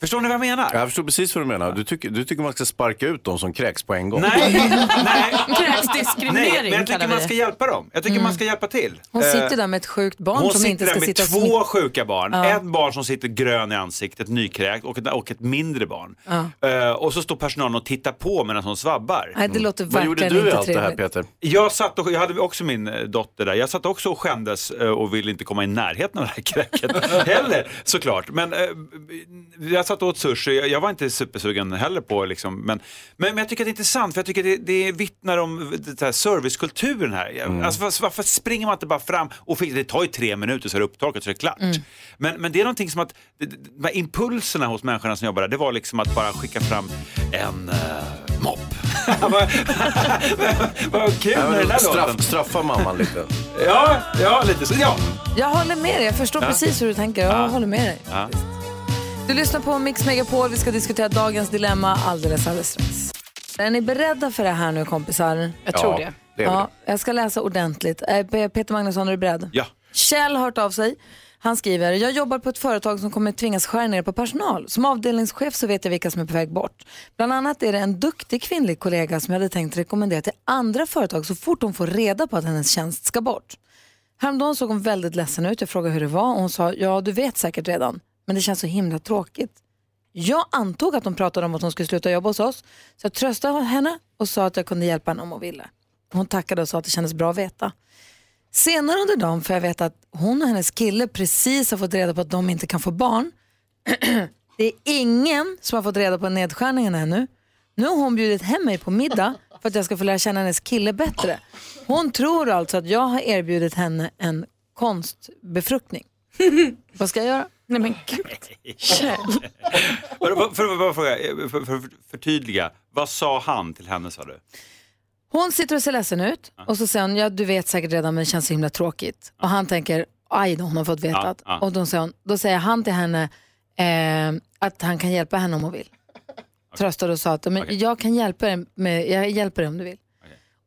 [SPEAKER 17] Förstår ni vad jag menar?
[SPEAKER 2] Jag förstår precis vad du menar. Du tycker, du tycker man ska sparka ut de som kräks på en
[SPEAKER 1] [LAUGHS]
[SPEAKER 2] gång?
[SPEAKER 17] Nej,
[SPEAKER 1] Kräksdiskriminering
[SPEAKER 17] Nej, men
[SPEAKER 1] kallar
[SPEAKER 17] jag
[SPEAKER 1] vi
[SPEAKER 17] tycker man
[SPEAKER 1] det. Mm.
[SPEAKER 17] ska hjälpa dem. Jag tycker man ska hjälpa till.
[SPEAKER 1] Hon
[SPEAKER 17] Eh,
[SPEAKER 1] sitter där med ett sjukt barn
[SPEAKER 17] Hon
[SPEAKER 1] som
[SPEAKER 17] sitter
[SPEAKER 1] inte
[SPEAKER 17] där
[SPEAKER 1] ska
[SPEAKER 17] med
[SPEAKER 1] sitta och
[SPEAKER 17] två sjuka barn.
[SPEAKER 1] Ja.
[SPEAKER 17] Ett barn som sitter grön i ansiktet, nykräkt och ett, och ett mindre barn.
[SPEAKER 1] Ja.
[SPEAKER 17] Eh, och så står personalen och tittar på medan hon svabbar.
[SPEAKER 1] Nej, det låter Mm. Vad gjorde verkligen du i inte allt det här, trevligt.
[SPEAKER 2] Peter?
[SPEAKER 17] Jag, satt och, jag hade också min eh, dotter där. Jag satt också och skämdes eh, och ville inte komma i närheten av det
[SPEAKER 1] [LAUGHS]
[SPEAKER 17] här kräket heller såklart. Men eh, jag satt och åt sushi. Jag, jag var inte supersugen heller på liksom. Men, men, men jag tycker att det är intressant för jag tycker att det, det vittnar om eh, det här servicekulturen här. Alltså, varför, varför springer man inte bara fram och fixar det? tar ju tre minuter så är det upptorkat så är det klart. Men, men det är någonting som att det- det- de här impulserna hos människorna som jobbar där det var liksom att bara skicka fram en eh, mopp. Vad kul med den här
[SPEAKER 2] straff,
[SPEAKER 17] låten.
[SPEAKER 2] Straffa mamman lite.
[SPEAKER 17] [LAUGHS] Ja, ja lite så. Ja.
[SPEAKER 1] Jag håller med dig, jag förstår
[SPEAKER 2] Ja.
[SPEAKER 1] precis hur du tänker. Jag
[SPEAKER 2] Ja.
[SPEAKER 1] håller med dig. Du lyssnar på Mix Megapol, vi ska diskutera dagens dilemma alldeles alldeles strax. Är ni beredda för det här nu kompisar?
[SPEAKER 11] Jag tror Ja, det. det är vi
[SPEAKER 1] Ja, jag ska läsa ordentligt. Eh, P- Peter Magnusson, är du beredd?
[SPEAKER 17] Ja.
[SPEAKER 1] Kjell har hört av sig. Han skriver, jag jobbar på ett företag som kommer tvingas skära ner på personal. Som avdelningschef så vet jag vilka som är på väg bort. Bland annat är det en duktig kvinnlig kollega som jag hade tänkt rekommendera till andra företag så fort de får reda på att hennes tjänst ska bort. Häromdagen såg hon väldigt ledsen ut. Jag frågade hur det var och hon sa, ja du vet säkert redan, men det känns så himla tråkigt. Jag antog att de pratade om att hon skulle sluta jobba hos oss, så jag tröstade henne och sa att jag kunde hjälpa henne om hon ville. Hon tackade och sa att det kändes bra att veta. Senare under dagen får jag veta att hon och hennes kille precis har fått reda på att de inte kan få barn. [CLEARS THROAT] Det är ingen som har fått reda på nedskärningen ännu. Nu har hon bjudit hem mig på middag för att jag ska få lära känna hennes kille bättre. Hon tror alltså att jag har erbjudit henne en [LAUGHS] konstbefruktning. Vad ska jag göra? Nej men gud.
[SPEAKER 17] För, för, för, för, eh, för, för, för, förtydliga, vad sa han till henne sa du?
[SPEAKER 1] Hon sitter och ser ledsen ut och så säger hon, ja du vet säkert redan men det känns så himla tråkigt. Och han tänker, aj då hon har fått veta.
[SPEAKER 11] Ja,
[SPEAKER 1] att-
[SPEAKER 11] ja.
[SPEAKER 1] Och då säger, hon, då säger han till henne eh, att han kan hjälpa henne om hon vill. Tröstade och sa att men jag kan hjälpa dig, med, jag hjälper dig om du vill.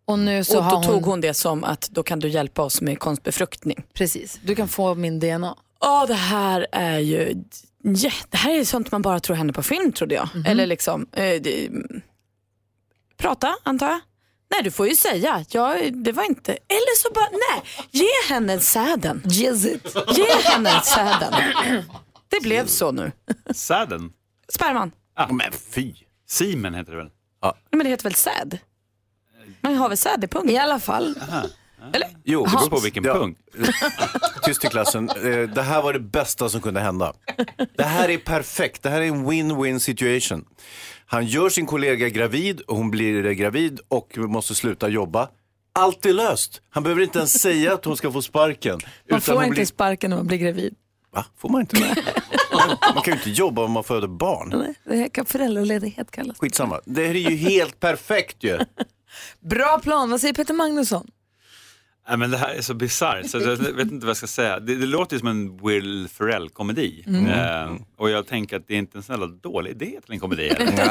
[SPEAKER 1] Och nu så
[SPEAKER 4] och
[SPEAKER 1] har
[SPEAKER 4] då
[SPEAKER 1] hon,
[SPEAKER 4] tog hon det som att då kan du hjälpa oss med konstbefruktning.
[SPEAKER 1] precis, du kan få min DNA.
[SPEAKER 4] Ja, det här är ju ja, det här är sånt man bara tror händer på film trodde jag.
[SPEAKER 1] Mhm.
[SPEAKER 4] Eller liksom, eh, det, prata antar jag. Nej, du får ju säga, ja, det var inte, eller så bara, nej, ge henne säden.
[SPEAKER 1] Yes it.
[SPEAKER 4] Ge henne säden. Det blev så nu.
[SPEAKER 17] Säden?
[SPEAKER 4] Sperman,
[SPEAKER 17] Ah. Men fy. Simen heter det väl?
[SPEAKER 4] nej, men det heter väl säd? Man har väl säd i pungen? I
[SPEAKER 1] alla fall.
[SPEAKER 4] Eller?
[SPEAKER 2] Jo,
[SPEAKER 4] det beror på
[SPEAKER 17] vilken
[SPEAKER 2] punkt. [LAUGHS] Tyst i klassen. Eh, Det här var det bästa som kunde hända. Det här är perfekt. Det här är en win-win situation. Han gör sin kollega gravid och hon blir eh, gravid och måste sluta jobba. Allt är löst. Han behöver inte ens säga att hon ska få sparken.
[SPEAKER 1] Man får
[SPEAKER 2] hon
[SPEAKER 1] inte
[SPEAKER 2] blir-
[SPEAKER 1] sparken när man blir gravid.
[SPEAKER 2] Va? Får man inte det? Man kan ju inte jobba om man föder barn.
[SPEAKER 1] Det här kan föräldraledighet kallas.
[SPEAKER 2] Skitsamma. Det här är ju helt perfekt ju.
[SPEAKER 1] Bra plan, vad säger Peter Magnusson?
[SPEAKER 17] Nej, men det här är så bisarrt så jag vet inte vad jag ska säga. Det, det låter ju som en Will Ferrell-komedi.
[SPEAKER 1] Mm.
[SPEAKER 17] Eh, och jag tänker att det är inte en sån jävla dålig idé till en komedi. heller.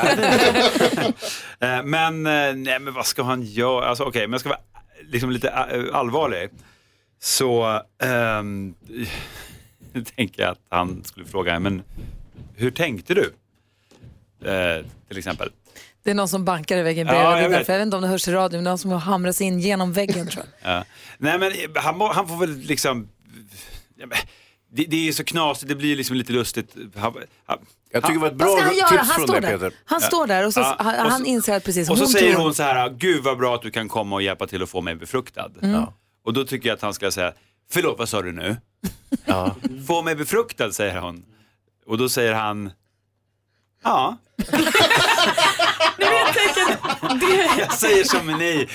[SPEAKER 17] [LAUGHS] eh, men, eh, nej, men vad ska han göra? Alltså, Okej, men jag ska vara liksom, lite eh, allvarlig. Så ehm, [LAUGHS] nu tänker jag att han skulle fråga, men hur tänkte du? Eh, till exempel.
[SPEAKER 1] Det är någon som bankar i väggen
[SPEAKER 17] Ja,
[SPEAKER 1] bredvid. det är
[SPEAKER 17] jag vet.
[SPEAKER 1] därför, jag vet inte om det hörs i radio, men någon som har hamrat in genom väggen tror jag.
[SPEAKER 17] Ja. Nej, men han, må- han får väl liksom... Ja, men Det, det är ju så knasigt, det blir ju liksom lite lustigt. Han, han, jag
[SPEAKER 2] tycker det var ett
[SPEAKER 1] Vad ska han göra? Han står där. Han står där och så, han, han inser att precis
[SPEAKER 17] Och så
[SPEAKER 1] hon
[SPEAKER 17] säger
[SPEAKER 1] tror-
[SPEAKER 17] hon så här, gud vad bra att du kan komma och hjälpa till att få mig befruktad.
[SPEAKER 1] Mm.
[SPEAKER 17] Och då tycker jag att han ska säga, förlåt vad sa du nu? [LAUGHS] Få mig befruktad säger hon. Och då säger han, ja. Jag säger som ni,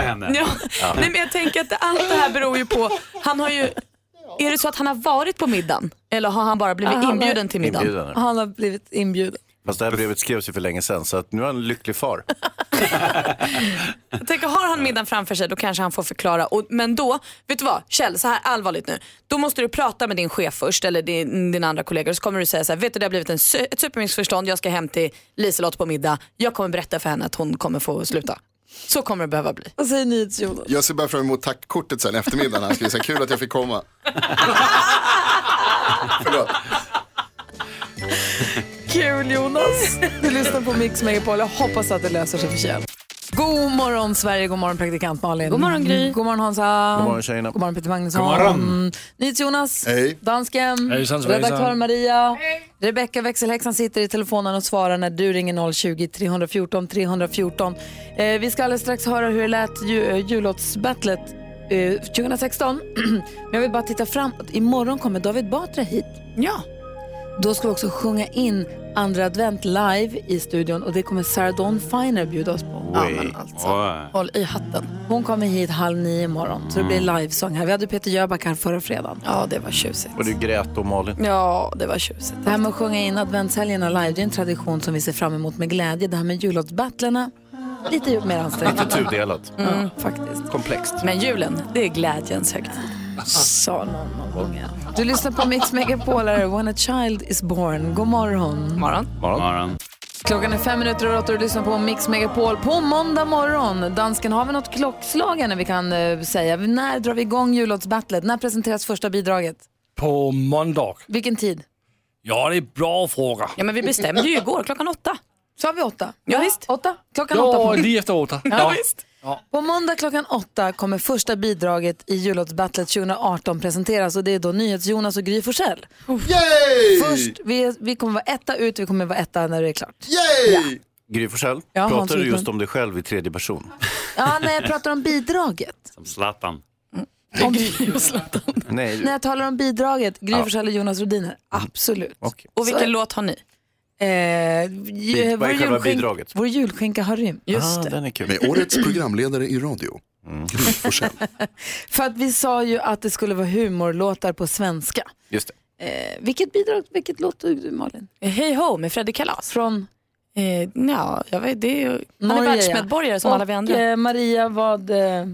[SPEAKER 1] [LAUGHS]
[SPEAKER 17] henne.
[SPEAKER 4] Ja. Nej, men jag tänker att allt det här beror ju på, han har ju, är det så att han har varit på middagen? Eller har han bara blivit
[SPEAKER 1] Ja, han har-
[SPEAKER 4] inbjuden till middagen?
[SPEAKER 2] Inbjuden.
[SPEAKER 1] Han har blivit inbjuden.
[SPEAKER 2] Fast det här brevet skrevs ju för länge sedan så att nu är han en lycklig far.
[SPEAKER 4] Jag tänker, har han middagen framför sig då kanske han får förklara. Och, men då, vet du vad, Kjell, så här allvarligt nu. Då måste du prata med din chef först eller din, din andra kollega och så kommer du säga så här, vet du det har blivit en, su- ett supermissförstånd, jag ska hem till Liselott på middag, jag kommer berätta för henne att hon kommer få sluta. Så kommer det behöva bli.
[SPEAKER 1] Vad säger NyhetsJonas?
[SPEAKER 16] Jag ser bara fram emot tackkortet sen i eftermiddag när han skriver så här, kul att jag
[SPEAKER 1] [LAUGHS]
[SPEAKER 16] fick komma. Förlåt.
[SPEAKER 1] Kul Jonas! Du lyssnar på Mix Megapol. Jag hoppas att det löser sig för Kjell. God morgon Sverige, god morgon praktikant Malin. Mm.
[SPEAKER 4] God morgon, Gry.
[SPEAKER 1] God morgon Hansa.
[SPEAKER 2] God morgon, tjejerna.
[SPEAKER 1] God morgon Peter Magnusson.
[SPEAKER 2] God morgon.
[SPEAKER 1] Jonas.
[SPEAKER 16] Hej.
[SPEAKER 1] Dansken.
[SPEAKER 2] Hejsan, svejsan.
[SPEAKER 1] Redaktör Maria. Rebecka växelhäxan sitter i telefonen och svarar när du ringer 020-314 314. Eh, vi ska alldeles strax höra hur det lät ju, eh, jullåtsbattlet eh, 2016. [CLEARS THROAT] Men jag vill bara titta framåt. Imorgon kommer David Batra hit.
[SPEAKER 4] Ja.
[SPEAKER 1] Då ska vi också sjunga in andra advent live i studion och det kommer Sarah Dawn Finer bjuda oss på.
[SPEAKER 4] Håll i hatten.
[SPEAKER 1] Hon kommer hit halv nio imorgon så det blir livesång här. Vi hade Peter Jöback här förra fredagen.
[SPEAKER 4] Mm. Ja, det var tjusigt.
[SPEAKER 2] Och du grät och Malin.
[SPEAKER 4] Ja, det var tjusigt.
[SPEAKER 1] Det här med att sjunga in adventshelgerna live, det är en tradition som vi ser fram emot med glädje. Det här med jullåtsbattlarna, lite mer ansträngt.
[SPEAKER 2] Lite tudelat.
[SPEAKER 1] Mm, faktiskt.
[SPEAKER 2] Komplext.
[SPEAKER 4] Men julen, det är glädjens högtid.
[SPEAKER 1] Sa någon någon gång. ja. Du lyssnar på Mix Megapolare, When a Child Is Born. God morgon.
[SPEAKER 4] Morgon.
[SPEAKER 17] Morgon.
[SPEAKER 1] Klockan är fem minuter över åtta och du lyssnar på Mix Megapol på måndag morgon. Dansken, har vi något klockslag här när vi kan eh, säga? När drar vi igång jullåtsbattlet? När presenteras första bidraget?
[SPEAKER 3] På måndag.
[SPEAKER 1] Vilken tid?
[SPEAKER 3] Ja, det är bra fråga.
[SPEAKER 4] Ja, men vi bestämde ju igår klockan åtta.
[SPEAKER 1] Sa vi åtta?
[SPEAKER 4] Ja, visst.
[SPEAKER 1] Åtta? Klockan åtta
[SPEAKER 3] Ja,
[SPEAKER 1] på
[SPEAKER 3] lige efter åtta.
[SPEAKER 1] Ja, visst. På måndag klockan åtta kommer första bidraget i jullåtsbattlet 2018 presenteras och det är då NyhetsJonas och Gry Forssell.
[SPEAKER 18] Yay!
[SPEAKER 1] Först, vi, vi kommer vara etta ut, vi kommer vara etta när det är klart.
[SPEAKER 18] Yay!
[SPEAKER 2] Gry Forssell,
[SPEAKER 1] Ja, Hans
[SPEAKER 2] pratar du
[SPEAKER 1] Wiklund.
[SPEAKER 2] just om dig själv i tredje person?
[SPEAKER 1] Ja, när jag pratar om bidraget.
[SPEAKER 2] Som Zlatan.
[SPEAKER 1] Om,
[SPEAKER 2] Nej,
[SPEAKER 1] när jag talar om bidraget, Gry
[SPEAKER 2] Ja.
[SPEAKER 1] Forssell och Jonas Rhodiner.
[SPEAKER 16] Mm.
[SPEAKER 1] Absolut.
[SPEAKER 4] Och vilken låt har ni?
[SPEAKER 1] Eh, ju,
[SPEAKER 16] vad
[SPEAKER 1] vår,
[SPEAKER 16] är själva
[SPEAKER 1] julskinka,
[SPEAKER 16] bidraget? Ah,
[SPEAKER 1] vår julskinka har rymt.
[SPEAKER 16] Med årets programledare i radio.
[SPEAKER 1] Mm.
[SPEAKER 16] Gry Forssell.
[SPEAKER 1] [CLEARS THROAT] För att vi sa ju att det skulle vara humorlåtar på svenska.
[SPEAKER 2] Just det.
[SPEAKER 1] Eh, vilket bidrag, vilket låt tog du Malin?
[SPEAKER 4] Hej ho med Fredrik Kalas.
[SPEAKER 1] Från?
[SPEAKER 4] Eh, ja, jag vet, det är ju... Han är
[SPEAKER 1] Norge, ja.
[SPEAKER 4] världsmedborgare som
[SPEAKER 1] och,
[SPEAKER 4] alla vi andra.
[SPEAKER 1] Eh, Maria, vad, eh,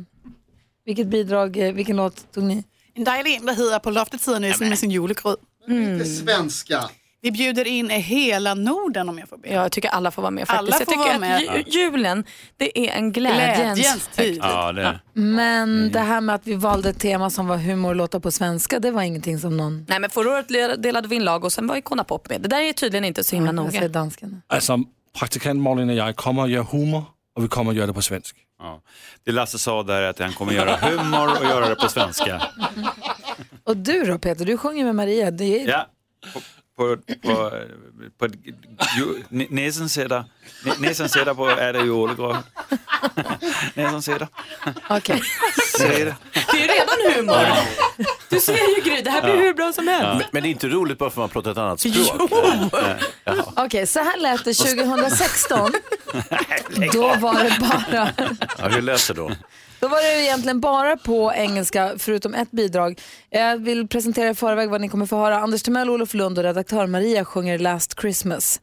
[SPEAKER 1] vilket bidrag, eh, vilken låt tog ni?
[SPEAKER 19] En dejlig en, vad heter På loftet sitter ni med sin julegröt.
[SPEAKER 1] Mm.
[SPEAKER 19] svenska. Vi bjuder in hela Norden om jag får be.
[SPEAKER 4] Ja, jag tycker alla får vara med
[SPEAKER 19] Alla
[SPEAKER 4] faktiskt.
[SPEAKER 19] får
[SPEAKER 4] jag tycker
[SPEAKER 19] vara med.
[SPEAKER 4] att ju, julen, det är en glädjens,
[SPEAKER 19] Glädjens tid.
[SPEAKER 17] Ja, det är det.
[SPEAKER 1] Men
[SPEAKER 17] Mm.
[SPEAKER 1] det här med att vi valde ett tema som var humorlåtar på svenska, det var ingenting som någon...
[SPEAKER 4] Nej men förra året le- delade vi in lag och sen var Icona Pop med. Det där är tydligen inte så himla
[SPEAKER 1] Jag
[SPEAKER 4] noga.
[SPEAKER 1] säger dansken.
[SPEAKER 3] Alltså, praktikant Malin och jag kommer att göra humor och vi kommer att göra det på svenska.
[SPEAKER 17] Det Lasse sa där är att han kommer göra humor och göra det på svenska.
[SPEAKER 1] [LAUGHS] Och du då Peter, du sjunger med Maria. Det är...
[SPEAKER 17] Ja. På, på, på, på, ju, n- näsen sitter, n- näsen sitter på, är det julegröt. Näsen sitter.
[SPEAKER 1] Okej.
[SPEAKER 17] Sitter.
[SPEAKER 4] [LAUGHS] Det är ju redan humor. Du ser ju Gry, det här blir
[SPEAKER 2] Ja.
[SPEAKER 4] hur bra som helst.
[SPEAKER 2] Men, men det är inte roligt bara för att man pratar ett annat språk.
[SPEAKER 4] [LAUGHS]
[SPEAKER 2] Nej. Jaha.
[SPEAKER 1] Okej, så här lät det 2016. då var det bara...
[SPEAKER 2] Ja, hur läser då?
[SPEAKER 1] Då var det egentligen bara på engelska, förutom ett bidrag. Jag vill presentera i förväg vad ni kommer få höra. Anders Timell, Olof Lund och redaktör Maria sjunger Last Christmas.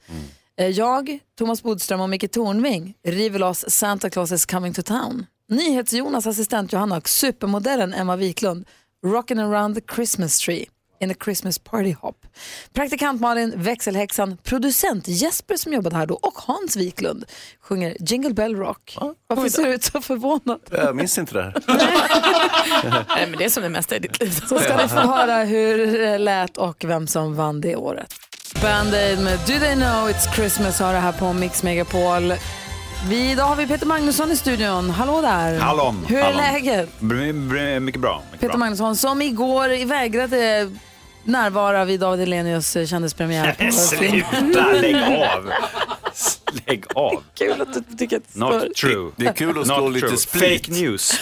[SPEAKER 1] Eh, Jag, Thomas Bodström och Micke Tornving river loss Santa Claus is coming to town. NyhetsJonas assistent Johanna och supermodellen Emma Wiklund rockin' around the Christmas tree in a Christmas party hop. Praktikant Malin, växelhäxan, producent Jesper som jobbade här då och Hans Wiklund sjunger Jingle Bell Rock. Varför ser du ut så förvånad?
[SPEAKER 2] Jag minns inte det här.
[SPEAKER 4] [LAUGHS] Nej, men det är som det mesta i ditt liv.
[SPEAKER 1] Så ska ni få höra hur det lät och vem som vann det året. Band-Aid med Do They Know It's Christmas har det här på Mix Megapol. Vi, idag har vi Peter Magnusson i studion. Hallå där!
[SPEAKER 17] Hallon.
[SPEAKER 1] Hur är
[SPEAKER 17] hallon.
[SPEAKER 1] läget?
[SPEAKER 17] Br- br- mycket bra. Mycket
[SPEAKER 1] Peter
[SPEAKER 17] bra.
[SPEAKER 1] Magnusson som igår vägrade närvara vid David Hellenius kändispremiär. på film.
[SPEAKER 17] [LAUGHS] Sluta, lägg av. Lägg av.
[SPEAKER 1] Kul att du tycker att det
[SPEAKER 17] Not true.
[SPEAKER 2] Det är kul att
[SPEAKER 17] Not
[SPEAKER 2] slå lite
[SPEAKER 17] true.
[SPEAKER 2] split.
[SPEAKER 17] Fake news.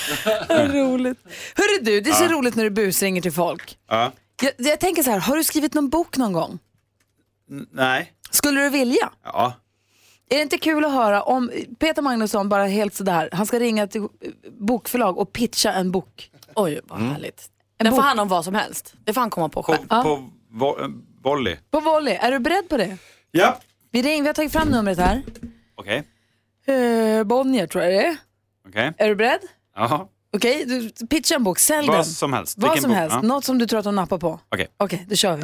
[SPEAKER 1] Vad roligt. Hörru du, det är så
[SPEAKER 17] Ja.
[SPEAKER 1] roligt när du busringer till folk.
[SPEAKER 17] Ja.
[SPEAKER 1] Jag, jag tänker så här, har du skrivit någon bok någon gång?
[SPEAKER 17] N- Nej.
[SPEAKER 1] Skulle du vilja?
[SPEAKER 17] Ja.
[SPEAKER 1] Är det inte kul att höra om Peter Magnusson bara helt sådär, han ska ringa till eh, bokförlag och pitcha en bok.
[SPEAKER 4] [LAUGHS] Oj, vad härligt. Den får han om vad som helst. Det får han komma på själv.
[SPEAKER 17] På vo- volley.
[SPEAKER 1] På volley, är du beredd på det?
[SPEAKER 17] Ja.
[SPEAKER 1] Vi, ring, vi har tagit fram numret här.
[SPEAKER 17] Okej.
[SPEAKER 1] Eh, Bonnier tror jag det är.
[SPEAKER 17] Okej.
[SPEAKER 1] Är du beredd?
[SPEAKER 17] Jaha.
[SPEAKER 1] Okej, du pitcha en bok, sälj den.
[SPEAKER 17] Vad som helst.
[SPEAKER 1] Vad
[SPEAKER 17] Vilken
[SPEAKER 1] som
[SPEAKER 17] bok?
[SPEAKER 1] helst,
[SPEAKER 17] Ja.
[SPEAKER 1] något som du tror att de nappar på.
[SPEAKER 17] Okej.
[SPEAKER 1] Okej, då kör vi.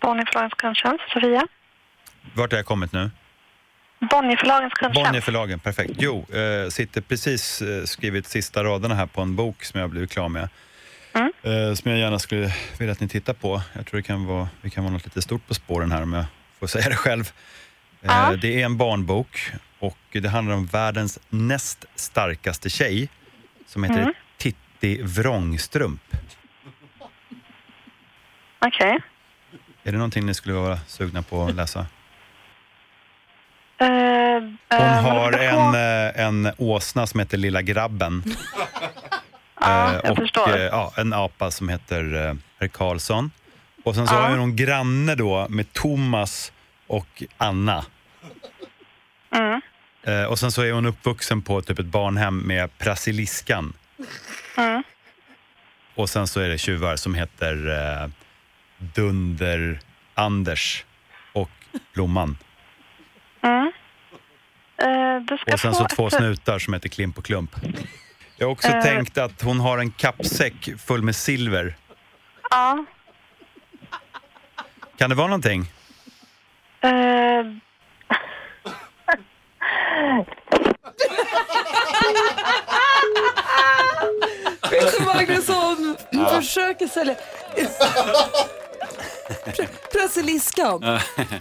[SPEAKER 11] Bonnierförlagens kundtjänst, Sofia.
[SPEAKER 17] Vart har jag kommit nu?
[SPEAKER 11] Bonnierförlagens
[SPEAKER 17] Bonnier
[SPEAKER 11] kundtjänst.
[SPEAKER 17] förlagen, perfekt. Jo, eh, sitter precis eh, skrivit sista raderna här på en bok som jag blivit klar med. Eh, som jag gärna skulle vilja att ni tittar på. Jag tror det kan vara, det kan vara något lite stort på spåren här om jag får säga det själv. Eh, Det är en barnbok och det handlar om världens näst starkaste tjej som heter
[SPEAKER 11] Mm.
[SPEAKER 17] Titti Vrångstrump.
[SPEAKER 11] Okej.
[SPEAKER 17] Är det någonting ni skulle vara sugna på att läsa?
[SPEAKER 11] Eh,
[SPEAKER 17] Hon
[SPEAKER 11] eh,
[SPEAKER 17] har
[SPEAKER 11] men-
[SPEAKER 17] en, eh, en åsna som heter Lilla
[SPEAKER 11] [LAUGHS]
[SPEAKER 17] grabben. Eh,
[SPEAKER 11] jag
[SPEAKER 17] och
[SPEAKER 11] förstår.
[SPEAKER 17] eh, ja, en apa som heter eh, Herr Karlsson. Och sen så
[SPEAKER 11] Ja.
[SPEAKER 17] har hon en granne då med Thomas och Anna.
[SPEAKER 11] Mm,
[SPEAKER 17] Eh, och sen så är hon uppvuxen på typ ett barnhem med Brasiliskan.
[SPEAKER 11] mm.
[SPEAKER 17] Och sen så är det tjuvar som heter eh,
[SPEAKER 20] Dunder-Anders och Blomman.
[SPEAKER 21] Mm. Eh, du ska
[SPEAKER 20] Och sen
[SPEAKER 21] få
[SPEAKER 20] så två
[SPEAKER 21] ett-
[SPEAKER 20] snutar som heter Klimp och Klump. Jag har också
[SPEAKER 21] Eh.
[SPEAKER 20] tänkt att hon har en kappsäck full med silver.
[SPEAKER 21] Ja.
[SPEAKER 20] Kan det vara någonting?
[SPEAKER 21] Eh,
[SPEAKER 20] [LAUGHS]
[SPEAKER 8] Peter Magnusson
[SPEAKER 17] Ja.
[SPEAKER 1] Mm,
[SPEAKER 8] försöker sälja... Pre- Presseliskan.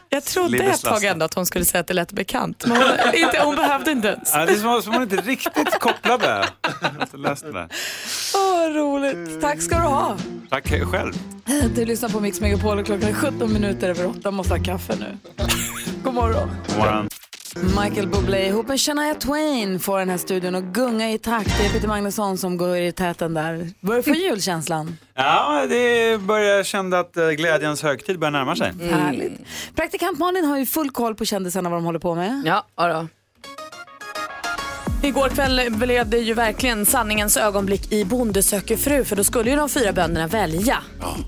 [SPEAKER 4] Jag trodde
[SPEAKER 17] Lille
[SPEAKER 4] ett tag
[SPEAKER 17] Slasten.
[SPEAKER 4] ändå att hon skulle säga att det lät bekant. Men hon, inte, hon behövde inte ens.
[SPEAKER 17] Ja, det är som- som hon inte riktigt kopplade. Jag har inte läst det där.
[SPEAKER 8] Åh, vad roligt. Tack ska du ha.
[SPEAKER 17] Tack själv.
[SPEAKER 1] Du lyssnar på Mix Megapol och klockan är 17 minuter över 8. Måste ha kaffe nu. God morgon.
[SPEAKER 17] God morgon.
[SPEAKER 1] Michael Bublé ihop med Shania Twain får den här studion att gunga i takt. Det är Peter Magnusson som går i täten där. Börjar få julkänslan.
[SPEAKER 17] Ja, det börjar, jag kände att eh, glädjens högtid börjar närma sig.
[SPEAKER 4] Mm.
[SPEAKER 1] Härligt. Praktikant Malin har ju full koll på kändisarna vad de håller på med.
[SPEAKER 4] Ja, då. Igår kväll blev det ju verkligen sanningens ögonblick i Bonde söker fru för då skulle ju de fyra bönderna välja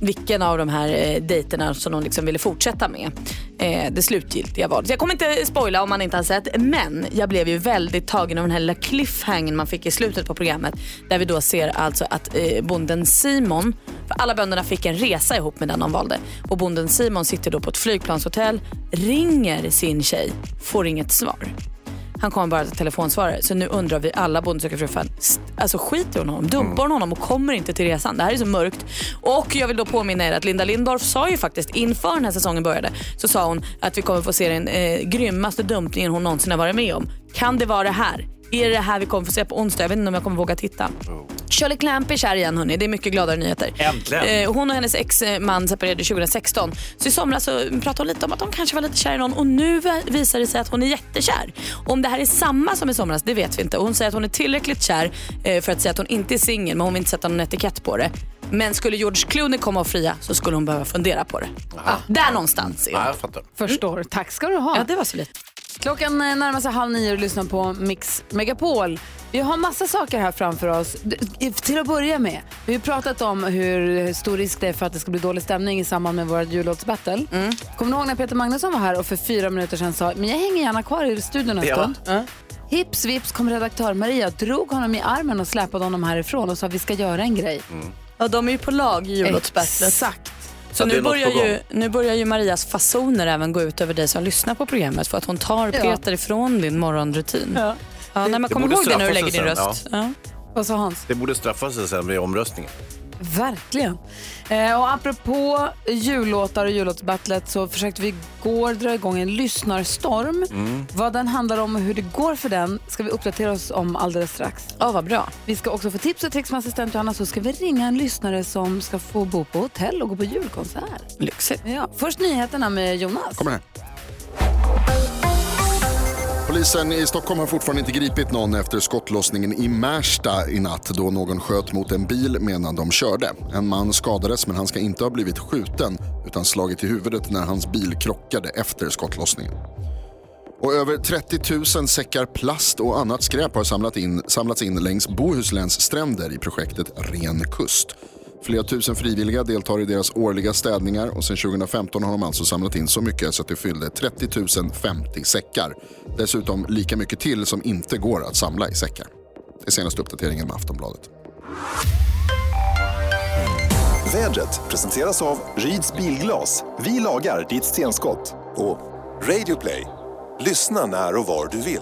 [SPEAKER 4] vilken av de här eh, dejterna som de liksom ville fortsätta med. Eh, det slutgiltiga valet. Jag kommer inte spoila om man inte har sett men jag blev ju väldigt tagen av den här lilla cliffhangern man fick i slutet på programmet där vi då ser alltså att eh, bonden Simon, för alla bönderna fick en resa ihop med den de valde och bonden Simon sitter då på ett flygplanshotell, ringer sin tjej, får inget svar. Han kommer bara att telefonsvarare. Så nu undrar vi alla Bonde söker fru fan, st- Alltså skiter hon honom? Dumpar hon honom och kommer inte till resan? Det här är så mörkt. Och jag vill då påminna er att Linda Lindorff sa ju faktiskt inför den här säsongen började så sa hon att vi kommer få se den eh, grymmaste dumpningen hon någonsin har varit med om. Kan det vara det här? Är det det här vi kommer få se på onsdag? Jag vet inte om jag kommer våga titta. Shirley Clamp är kär igen hörni. Det är mycket gladare nyheter.
[SPEAKER 17] Äntligen.
[SPEAKER 4] Eh, hon och hennes ex-man separerade 2016. Så i somras så pratade hon lite om att hon kanske var lite kär i någon och nu va- visar det sig att hon är jättekär. Om det här är samma som i somras, det vet vi inte. Och Hon säger att hon är tillräckligt kär eh, för att säga att hon inte är singel men hon vill inte sätta någon etikett på det. Men skulle George Clooney komma och fria så skulle hon behöva fundera på det. Ah, där någonstans är hon. Mm.
[SPEAKER 1] Förstår. Tack ska du ha.
[SPEAKER 4] Ja, det var så lite.
[SPEAKER 1] Klockan eh, närmar sig halv nio och lyssnar på Mix Megapol. Vi har massa saker här framför oss. D- i- Till att börja med, vi har ju pratat om hur stor risk det är för att det ska bli dålig stämning i samband med vårt
[SPEAKER 2] Mm.
[SPEAKER 1] jullåtsbattle. Kommer ni ihåg när Peter Magnusson var här och för fyra minuter sedan sa men jag hänger gärna kvar i studion en
[SPEAKER 8] Ja.
[SPEAKER 1] stund? Hips vips kom redaktör Maria, drog honom i armen och släpade honom härifrån och sa vi ska göra en grej.
[SPEAKER 4] Ja, de är ju på lag i jullåtsbattlet.
[SPEAKER 1] Exakt.
[SPEAKER 4] Så
[SPEAKER 1] Ja, det
[SPEAKER 4] nu
[SPEAKER 1] är något
[SPEAKER 4] börjar,
[SPEAKER 1] på gång.
[SPEAKER 4] ju, nu börjar ju Marias fasoner även gå ut över dig som lyssnar på programmet för att hon tar
[SPEAKER 1] Ja.
[SPEAKER 4] Peter ifrån din morgonrutin. Ja. när man
[SPEAKER 2] Det
[SPEAKER 4] kommer
[SPEAKER 2] borde
[SPEAKER 4] ihåg det när du
[SPEAKER 2] straffa
[SPEAKER 4] lägger
[SPEAKER 2] sig
[SPEAKER 4] din
[SPEAKER 2] sen,
[SPEAKER 4] röst.
[SPEAKER 2] ja.
[SPEAKER 4] Ja.
[SPEAKER 1] Vad sa Hans?
[SPEAKER 2] Det borde straffa sig sen vid omröstningen.
[SPEAKER 1] Verkligen. Eh, och apropå jullåtar och jullåtsbattlet så försökte vi igår dra igång en lyssnarstorm.
[SPEAKER 11] Mm.
[SPEAKER 1] Vad den handlar om och hur det går för den ska vi uppdatera oss om alldeles strax.
[SPEAKER 4] Ja, vad bra.
[SPEAKER 1] Vi ska också få tips och tricks med assistent Johanna så ska vi ringa en lyssnare som ska få bo på hotell och gå på julkonsert.
[SPEAKER 4] Lyxigt.
[SPEAKER 1] Ja, först nyheterna med Jonas.
[SPEAKER 16] Kommer här. Polisen i Stockholm har fortfarande inte gripit någon efter skottlossningen i Märsta i natt då någon sköt mot en bil medan de körde. En man skadades men han ska inte ha blivit skjuten utan slagit i huvudet när hans bil krockade efter skottlossningen. Och över 30 000 säckar plast och annat skräp har samlat in, samlats in längs Bohusläns stränder i projektet Ren kust. Flera tusen frivilliga deltar i deras årliga städningar och sedan 2015 har de alltså samlat in så mycket så att det fyllde 30 050 säckar. Dessutom lika mycket till som inte går att samla i säckar. Det är senaste uppdateringen med Aftonbladet.
[SPEAKER 22] Vädret presenteras av Ryds Bilglas. Vi lagar ditt stenskott. Och Radioplay. Lyssna när och var du vill.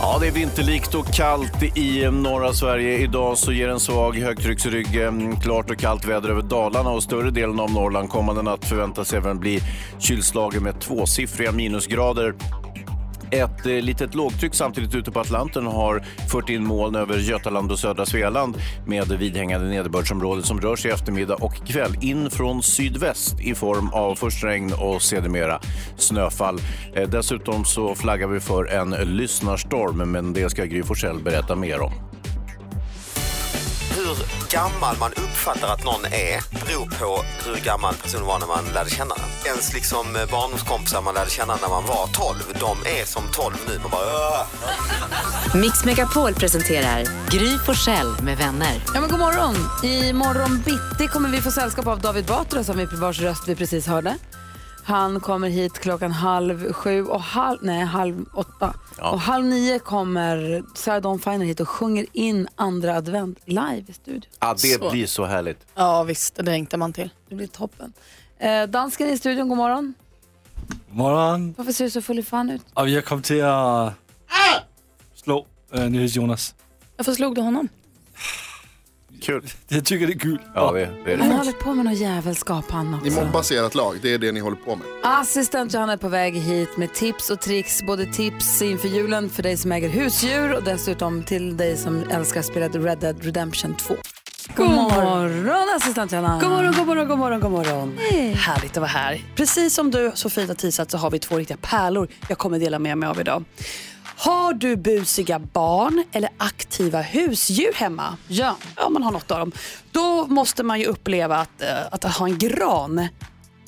[SPEAKER 2] Ja, det är vinterlikt och kallt i norra Sverige. Idag så ger en svag högtrycksrygg eh, klart och kallt väder över Dalarna och större delen av Norrland. Kommande natt förväntas även bli kylslagen med tvåsiffriga minusgrader. Ett eh, litet lågtryck samtidigt ute på Atlanten har fört in moln över Götaland och södra Svealand med vidhängande nederbördsområden som rör sig i eftermiddag och kväll in från sydväst i form av först regn och sedermera snöfall. Eh, Dessutom så flaggar vi för en lyssnarstorm, men det ska Gry Forssell berätta mer om.
[SPEAKER 5] Hur hur gammal man uppfattar att någon är beror på hur gammal personen var när man lärde känna den. Ens liksom eh, barndomskompisar man lärde känna när man var 12, de är som 12 nu. Man bara... "Åh."
[SPEAKER 6] Mix Megapol presenterar Gry Forssell med vänner.
[SPEAKER 1] Ja, men god morgon! I morgon bitti kommer vi få sällskap av David Batra som vi, vars röst vi precis hörde. Han kommer hit klockan halv sju och halv, nej, halv åtta. Och halv nio kommer Sarah Dawn Finer hit och sjunger in andra advent live i studion.
[SPEAKER 2] Ja, Ah, det
[SPEAKER 23] Så.
[SPEAKER 2] blir så härligt.
[SPEAKER 23] Ja visst, det längtar man till.
[SPEAKER 1] Det blir toppen. Eh, dansken i studion, god morgon.
[SPEAKER 3] Morgen.
[SPEAKER 1] Varför ser du så full i fan ut?
[SPEAKER 3] Og jeg kom til at slå øh, Niels Jonas.
[SPEAKER 23] Varför slog du honom?
[SPEAKER 2] Kul.
[SPEAKER 3] Jeg tykker, det er gult.
[SPEAKER 2] Ja, det, det
[SPEAKER 1] Han håller på med något jävelskap han
[SPEAKER 16] Ni
[SPEAKER 1] också.
[SPEAKER 16] mobbar ert lag, det är det ni håller på med.
[SPEAKER 1] Assistent Johanna är på väg hit med tips och tricks. Både tips inför julen för dig som äger husdjur och dessutom till dig som älskar spelet Red Dead Redemption 2. God morgon assistent Johanna.
[SPEAKER 19] God morgon, god morgon, god morgon, god morgon. Härligt att vara här. Precis som du så fint har teasat så har vi två riktiga pärlor jag kommer dela med mig av idag. Har du busiga barn eller aktiva husdjur hemma? Ja. Ja, man har något av dem. Då måste man ju uppleva att, eh, att ha en gran.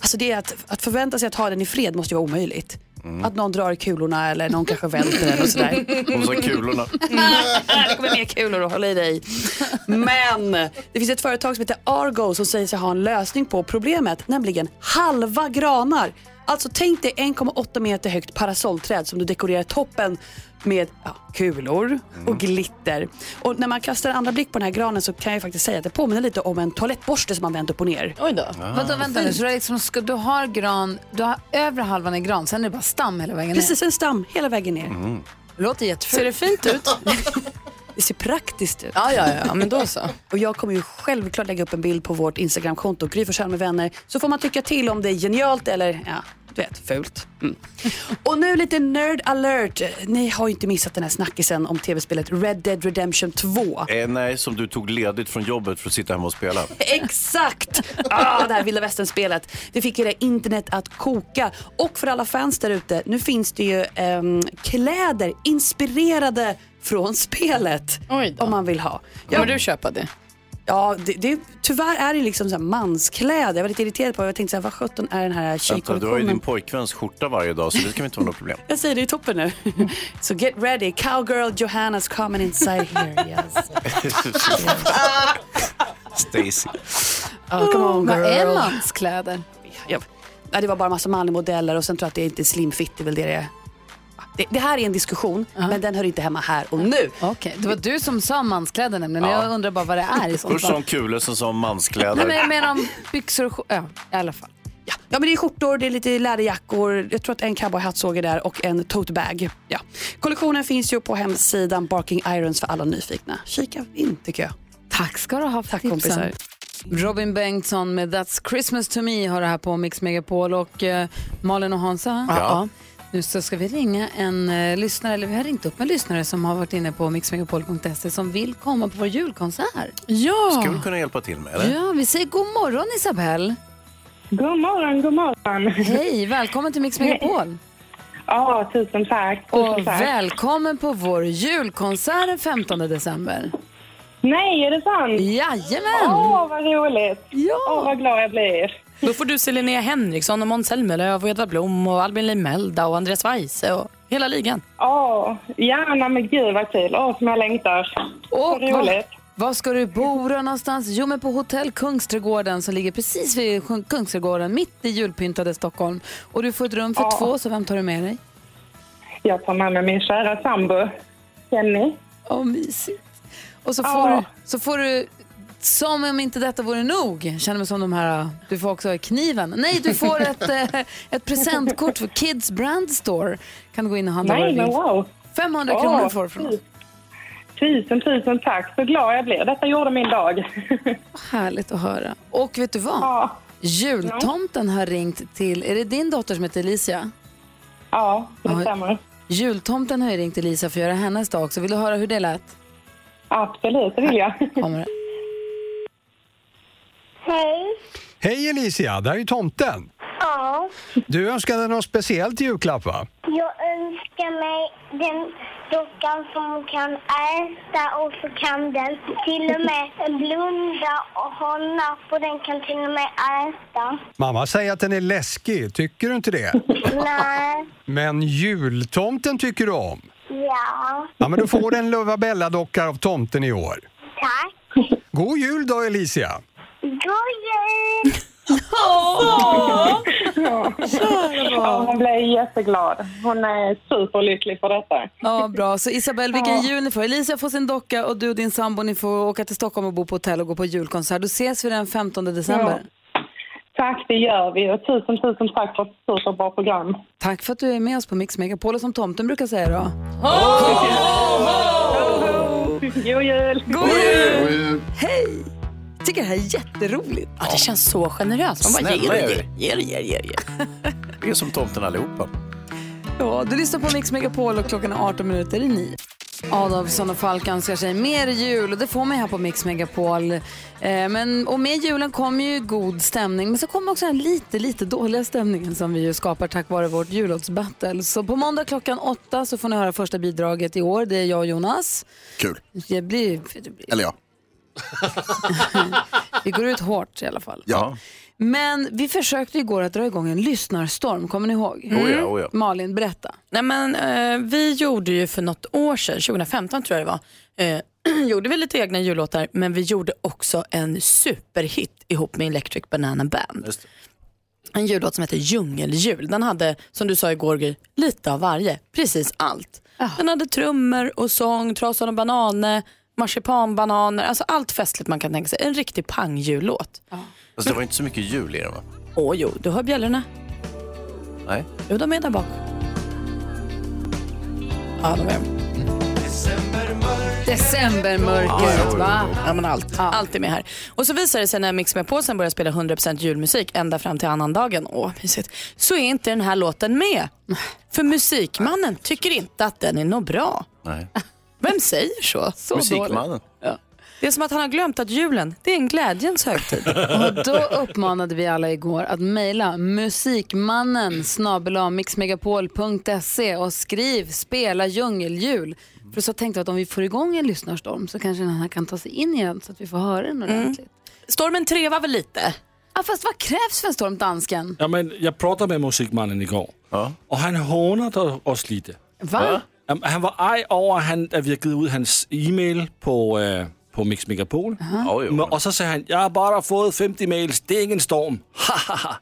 [SPEAKER 19] Alltså det är att, att förvänta sig att ha den i fred måste ju vara omöjligt. Att någon drar i kulorna eller någon kanske välter den och sådär.
[SPEAKER 2] Hon sa kulorna.
[SPEAKER 6] Äh,
[SPEAKER 19] det kommer mer kulor att hålla i dig. Men det finns ett företag som heter Argo som säger sig ha en lösning på problemet, nämligen halva granar. Alltså tänk dig 1,8 meter högt parasollträd som du dekorerar toppen med ja, kulor och glitter. Och när man kastar en andra blick på den här granen så kan jag faktiskt säga att det påminner lite om en toalettborste som man vänder upp och ner.
[SPEAKER 1] Oj då.
[SPEAKER 19] Ah.
[SPEAKER 1] Vadå, vänta nu, så du, har liksom, ska, du har gran, du har övre halvan i gran, sen är det bara stam hela vägen
[SPEAKER 19] Precis, en stam hela vägen ner.
[SPEAKER 1] Låter jättefult.
[SPEAKER 19] Ser det fint
[SPEAKER 1] [LAUGHS]
[SPEAKER 19] ut? det ser praktiskt ut.
[SPEAKER 1] Ja, ja, ja, men då
[SPEAKER 19] så. [LAUGHS] Och jag kommer ju självklart lägga upp en bild på vårt Instagramkonto, Gry Forssell med vänner, så får man tycka till om det är genialt eller, ja, du vet, fult. Mm. Och nu lite nerd alert. Ni har ju inte missat den här snackisen om tv-spelet Red Dead Redemption 2.
[SPEAKER 2] Eh, nej, som du tog ledigt från jobbet för att sitta hemma och spela.
[SPEAKER 19] [LAUGHS] Exakt! Ah, det här vilda västern-spelet. Det fick ju det internet att koka. Och för alla fans där ute, nu finns det ju ehm, kläder inspirerade från spelet. Om man vill ha.
[SPEAKER 23] Kommer du köpa det?
[SPEAKER 19] Ja, det, det, tyvärr är det liksom så här manskläder. Jag var lite irriterad på det. Jag tänkte så här, vad sjutton är den här
[SPEAKER 2] Vänta, du har ju din
[SPEAKER 19] tjejkollektionen?
[SPEAKER 2] pojkväns skjorta varje dag så det ska inte vara något problem.
[SPEAKER 19] Jag säger det i toppen nu.
[SPEAKER 2] Mm.
[SPEAKER 19] [LAUGHS] Så get ready, cowgirl Johanna's coming inside here. Yes.
[SPEAKER 2] Stacy.
[SPEAKER 19] Oh, come on girl.
[SPEAKER 1] Vad är manskläder?
[SPEAKER 19] Ja, ja, det var bara massa manliga modeller och sen tror jag att det är inte slim fit, det är väl det det är. Det, det här är en diskussion, men den hör inte hemma här och nu.
[SPEAKER 1] Okej, det var du som sa manskläder nämligen.
[SPEAKER 2] Ja.
[SPEAKER 1] Jag undrar bara vad det är i sånt
[SPEAKER 2] Först sa hon
[SPEAKER 1] fall.
[SPEAKER 2] kulor, sen sa hon
[SPEAKER 1] Nej,
[SPEAKER 2] manskläder.
[SPEAKER 1] men jag menar om byxor och skjor- ja, i alla fall.
[SPEAKER 19] Ja, men det är skjortor, det är lite läderjackor, jag tror att en cowboyhatt såg jag där och en tote bag. Ja. Kollektionen finns ju på hemsidan Barking Irons för alla nyfikna. Kika in tycker jag.
[SPEAKER 1] Tack ska du ha för Tack,
[SPEAKER 19] kompisar.
[SPEAKER 1] Robin Bengtsson med That's Christmas to me har det här på Mix Megapol och eh, Malin och Hansa.
[SPEAKER 8] Ja.
[SPEAKER 1] Nu så ska vi ringa en eh, lyssnare, eller vi har ringt upp en lyssnare som har varit inne på mixmegapol.se som vill komma på vår julkonsert. Ja!
[SPEAKER 2] Skulle du kunna hjälpa till med eller?
[SPEAKER 1] Ja, vi säger god morgon Isabelle. God morgon, god morgon. Hej, välkommen till Mix Megapol. Ja, tusen tack. och
[SPEAKER 11] tack.
[SPEAKER 1] välkommen på vår julkonsert den 15 december. Nej, är det sant? Jajamän!
[SPEAKER 11] Åh, vad roligt!
[SPEAKER 1] Ja.
[SPEAKER 11] Åh, vad glad jag blir.
[SPEAKER 23] Då får du se Linnea Henriksson och Måns Zelmerlöw och Edvard Blom och Albin Limelda och Andreas Weise och hela ligan.
[SPEAKER 11] Åh, ja, nej, men gud vad kul. Åh, som jag längtar.
[SPEAKER 1] Och
[SPEAKER 11] vad roligt.
[SPEAKER 1] Var, var ska du bo då någonstans? Jo, men på Hotell Kungsträdgården som ligger precis vid Sjö- Kungsträdgården, mitt i julpyntade Stockholm. Och du får ett rum för
[SPEAKER 11] Ja.
[SPEAKER 1] två, så vem tar du med dig?
[SPEAKER 11] Jag tar med mig min kära sambo, Jenny.
[SPEAKER 1] Åh, mysigt. Och så
[SPEAKER 11] Ja.
[SPEAKER 1] får, du, så får du, som om inte detta vore nog, jag känner mig som de här, du får också kniven. Nej, du får ett, eh, ett presentkort för Kids Brand Store. Kan du gå in och handla vad
[SPEAKER 11] Nej,
[SPEAKER 1] du
[SPEAKER 11] men
[SPEAKER 1] vill.
[SPEAKER 11] wow.
[SPEAKER 1] 500
[SPEAKER 11] Åh,
[SPEAKER 1] kronor får du från oss.
[SPEAKER 11] Tusen, tusen tack. Så glad jag blir. Detta gjorde min dag.
[SPEAKER 1] Härligt att höra. [LAUGHS] Och vet du vad? Jultomten har ringt till, är det din dotter som heter Alicia?
[SPEAKER 11] Ja, det
[SPEAKER 1] stämmer. Jultomten har ju ringt till Lisa för att göra hennes dag också. Vill du höra hur det lät?
[SPEAKER 11] Absolut, det vill jag.
[SPEAKER 1] Kommer det.
[SPEAKER 11] Hej.
[SPEAKER 24] Hej Alicia, där är tomten.
[SPEAKER 25] Ja,
[SPEAKER 24] Du önskade något speciellt i julklapp va?
[SPEAKER 25] jag önskar mig den Dockan som kan äta och så kan den till och med blunda och hålla på. Den kan till och med äta.
[SPEAKER 24] Mamma säger att den är läskig, tycker du inte det?
[SPEAKER 25] Nej,
[SPEAKER 24] Men jultomten tycker du om.
[SPEAKER 25] ja,
[SPEAKER 24] Ja, men du får en Lovabella-docka av tomten i år.
[SPEAKER 25] tack.
[SPEAKER 24] God jul då Alicia!
[SPEAKER 25] God jul!
[SPEAKER 11] Ja, hon blev jätteglad. Hon är superlycklig för detta.
[SPEAKER 1] Ja, bra. Så Isabel, vilken
[SPEAKER 11] Ja.
[SPEAKER 1] jul ni får. Elisa får sin docka och du och din sambo ni får åka till Stockholm och bo på hotell och gå på julkonsert. Då ses vi den 15 december.
[SPEAKER 11] Tack, det gör vi. Och tusen, tusen tack för ett superbra program.
[SPEAKER 1] Tack för att du är med oss på Mix Megapol och som tomten brukar säga då.
[SPEAKER 11] God jul!
[SPEAKER 1] God jul! Hej! Jag tycker det här är jätteroligt.
[SPEAKER 4] Ja, det känns så generöst.
[SPEAKER 1] alltså,
[SPEAKER 4] Man bara
[SPEAKER 2] Snälla
[SPEAKER 4] ger och
[SPEAKER 2] er.
[SPEAKER 4] ger, ger och ger, ger, och ger.
[SPEAKER 2] [LAUGHS] Vi är som tomten allihopa.
[SPEAKER 1] Ja, du lyssnar på Mix Megapol och klockan är 18 minuter i nio. Adolfsson och Falk önskar sig mer jul och det får man ju här på Mix Megapol. Eh, men, och med julen kommer ju god stämning men så kommer också den lite, lite dåliga stämningen som vi ju skapar tack vare vårt jullåtsbattle. Så på måndag klockan åtta så får ni höra första bidraget i år. Det är jag och Jonas.
[SPEAKER 16] Kul.
[SPEAKER 1] Det blir,
[SPEAKER 16] Eller ja.
[SPEAKER 1] vi går ut hårt i alla fall.
[SPEAKER 16] Ja.
[SPEAKER 1] Men vi försökte igår att dra igång en lyssnarstorm, kommer ni ihåg?
[SPEAKER 4] Oh ja, oh ja.
[SPEAKER 1] Malin, berätta.
[SPEAKER 4] Nej, men, eh, vi gjorde ju för något år sedan, 2015 tror jag det var, eh, [CLEARS THROAT] gjorde vi lite egna jullåtar men vi gjorde också en superhit ihop med Electric Banana Band. En jullåt som heter Djungeljul. Den hade, som du sa igår, Gry, lite av varje, precis allt. Den hade trummor och sång, trasan och bananer, marsipanbananer, alltså allt festligt man kan tänka sig. En riktig pangjullåt.
[SPEAKER 2] Alltså, det var inte så mycket jul i den va?
[SPEAKER 4] Åh jo, du hör bjällrorna.
[SPEAKER 2] Nej.
[SPEAKER 4] Jo, de är där bak. Ja, de är
[SPEAKER 1] Decembermörkret, va?
[SPEAKER 4] Ja, men allt. allt är med här. Och så visar det sig när Mix med påsen börjar spela 100% julmusik ända fram till annandagen, åh mysigt, så är inte den här låten med. För musikmannen tycker inte att den är något bra.
[SPEAKER 1] [LAUGHS]
[SPEAKER 2] Nej.
[SPEAKER 4] Vem säger så? så
[SPEAKER 2] Musikmannen.
[SPEAKER 4] dåligt. Det är som att han har glömt att julen, det är en glädjens högtid.
[SPEAKER 1] Och då uppmanade vi alla igår att mejla musikmannen snabel-a mixmegapol.se och skriv spela djungeljul. För så tänkte jag att om vi får igång en lyssnarstorm så kanske den här kan ta sig in igen så att vi får höra den
[SPEAKER 4] Mm.
[SPEAKER 1] ordentligt.
[SPEAKER 4] Stormen trevar väl lite?
[SPEAKER 1] Ja, fast vad krävs för en storm, dansken?
[SPEAKER 3] Ja, men jag pratade med musikmannen igår och han hånade oss lite.
[SPEAKER 1] Va? Ja.
[SPEAKER 3] Ja, men Han var arg över att han- att vi har givit ut hans e-mail på, eh, på Mix Megapol. Men- Och så säger han, jag har bara fått 50 mails, det är
[SPEAKER 1] [LAUGHS]
[SPEAKER 3] ingen storm. Hahaha.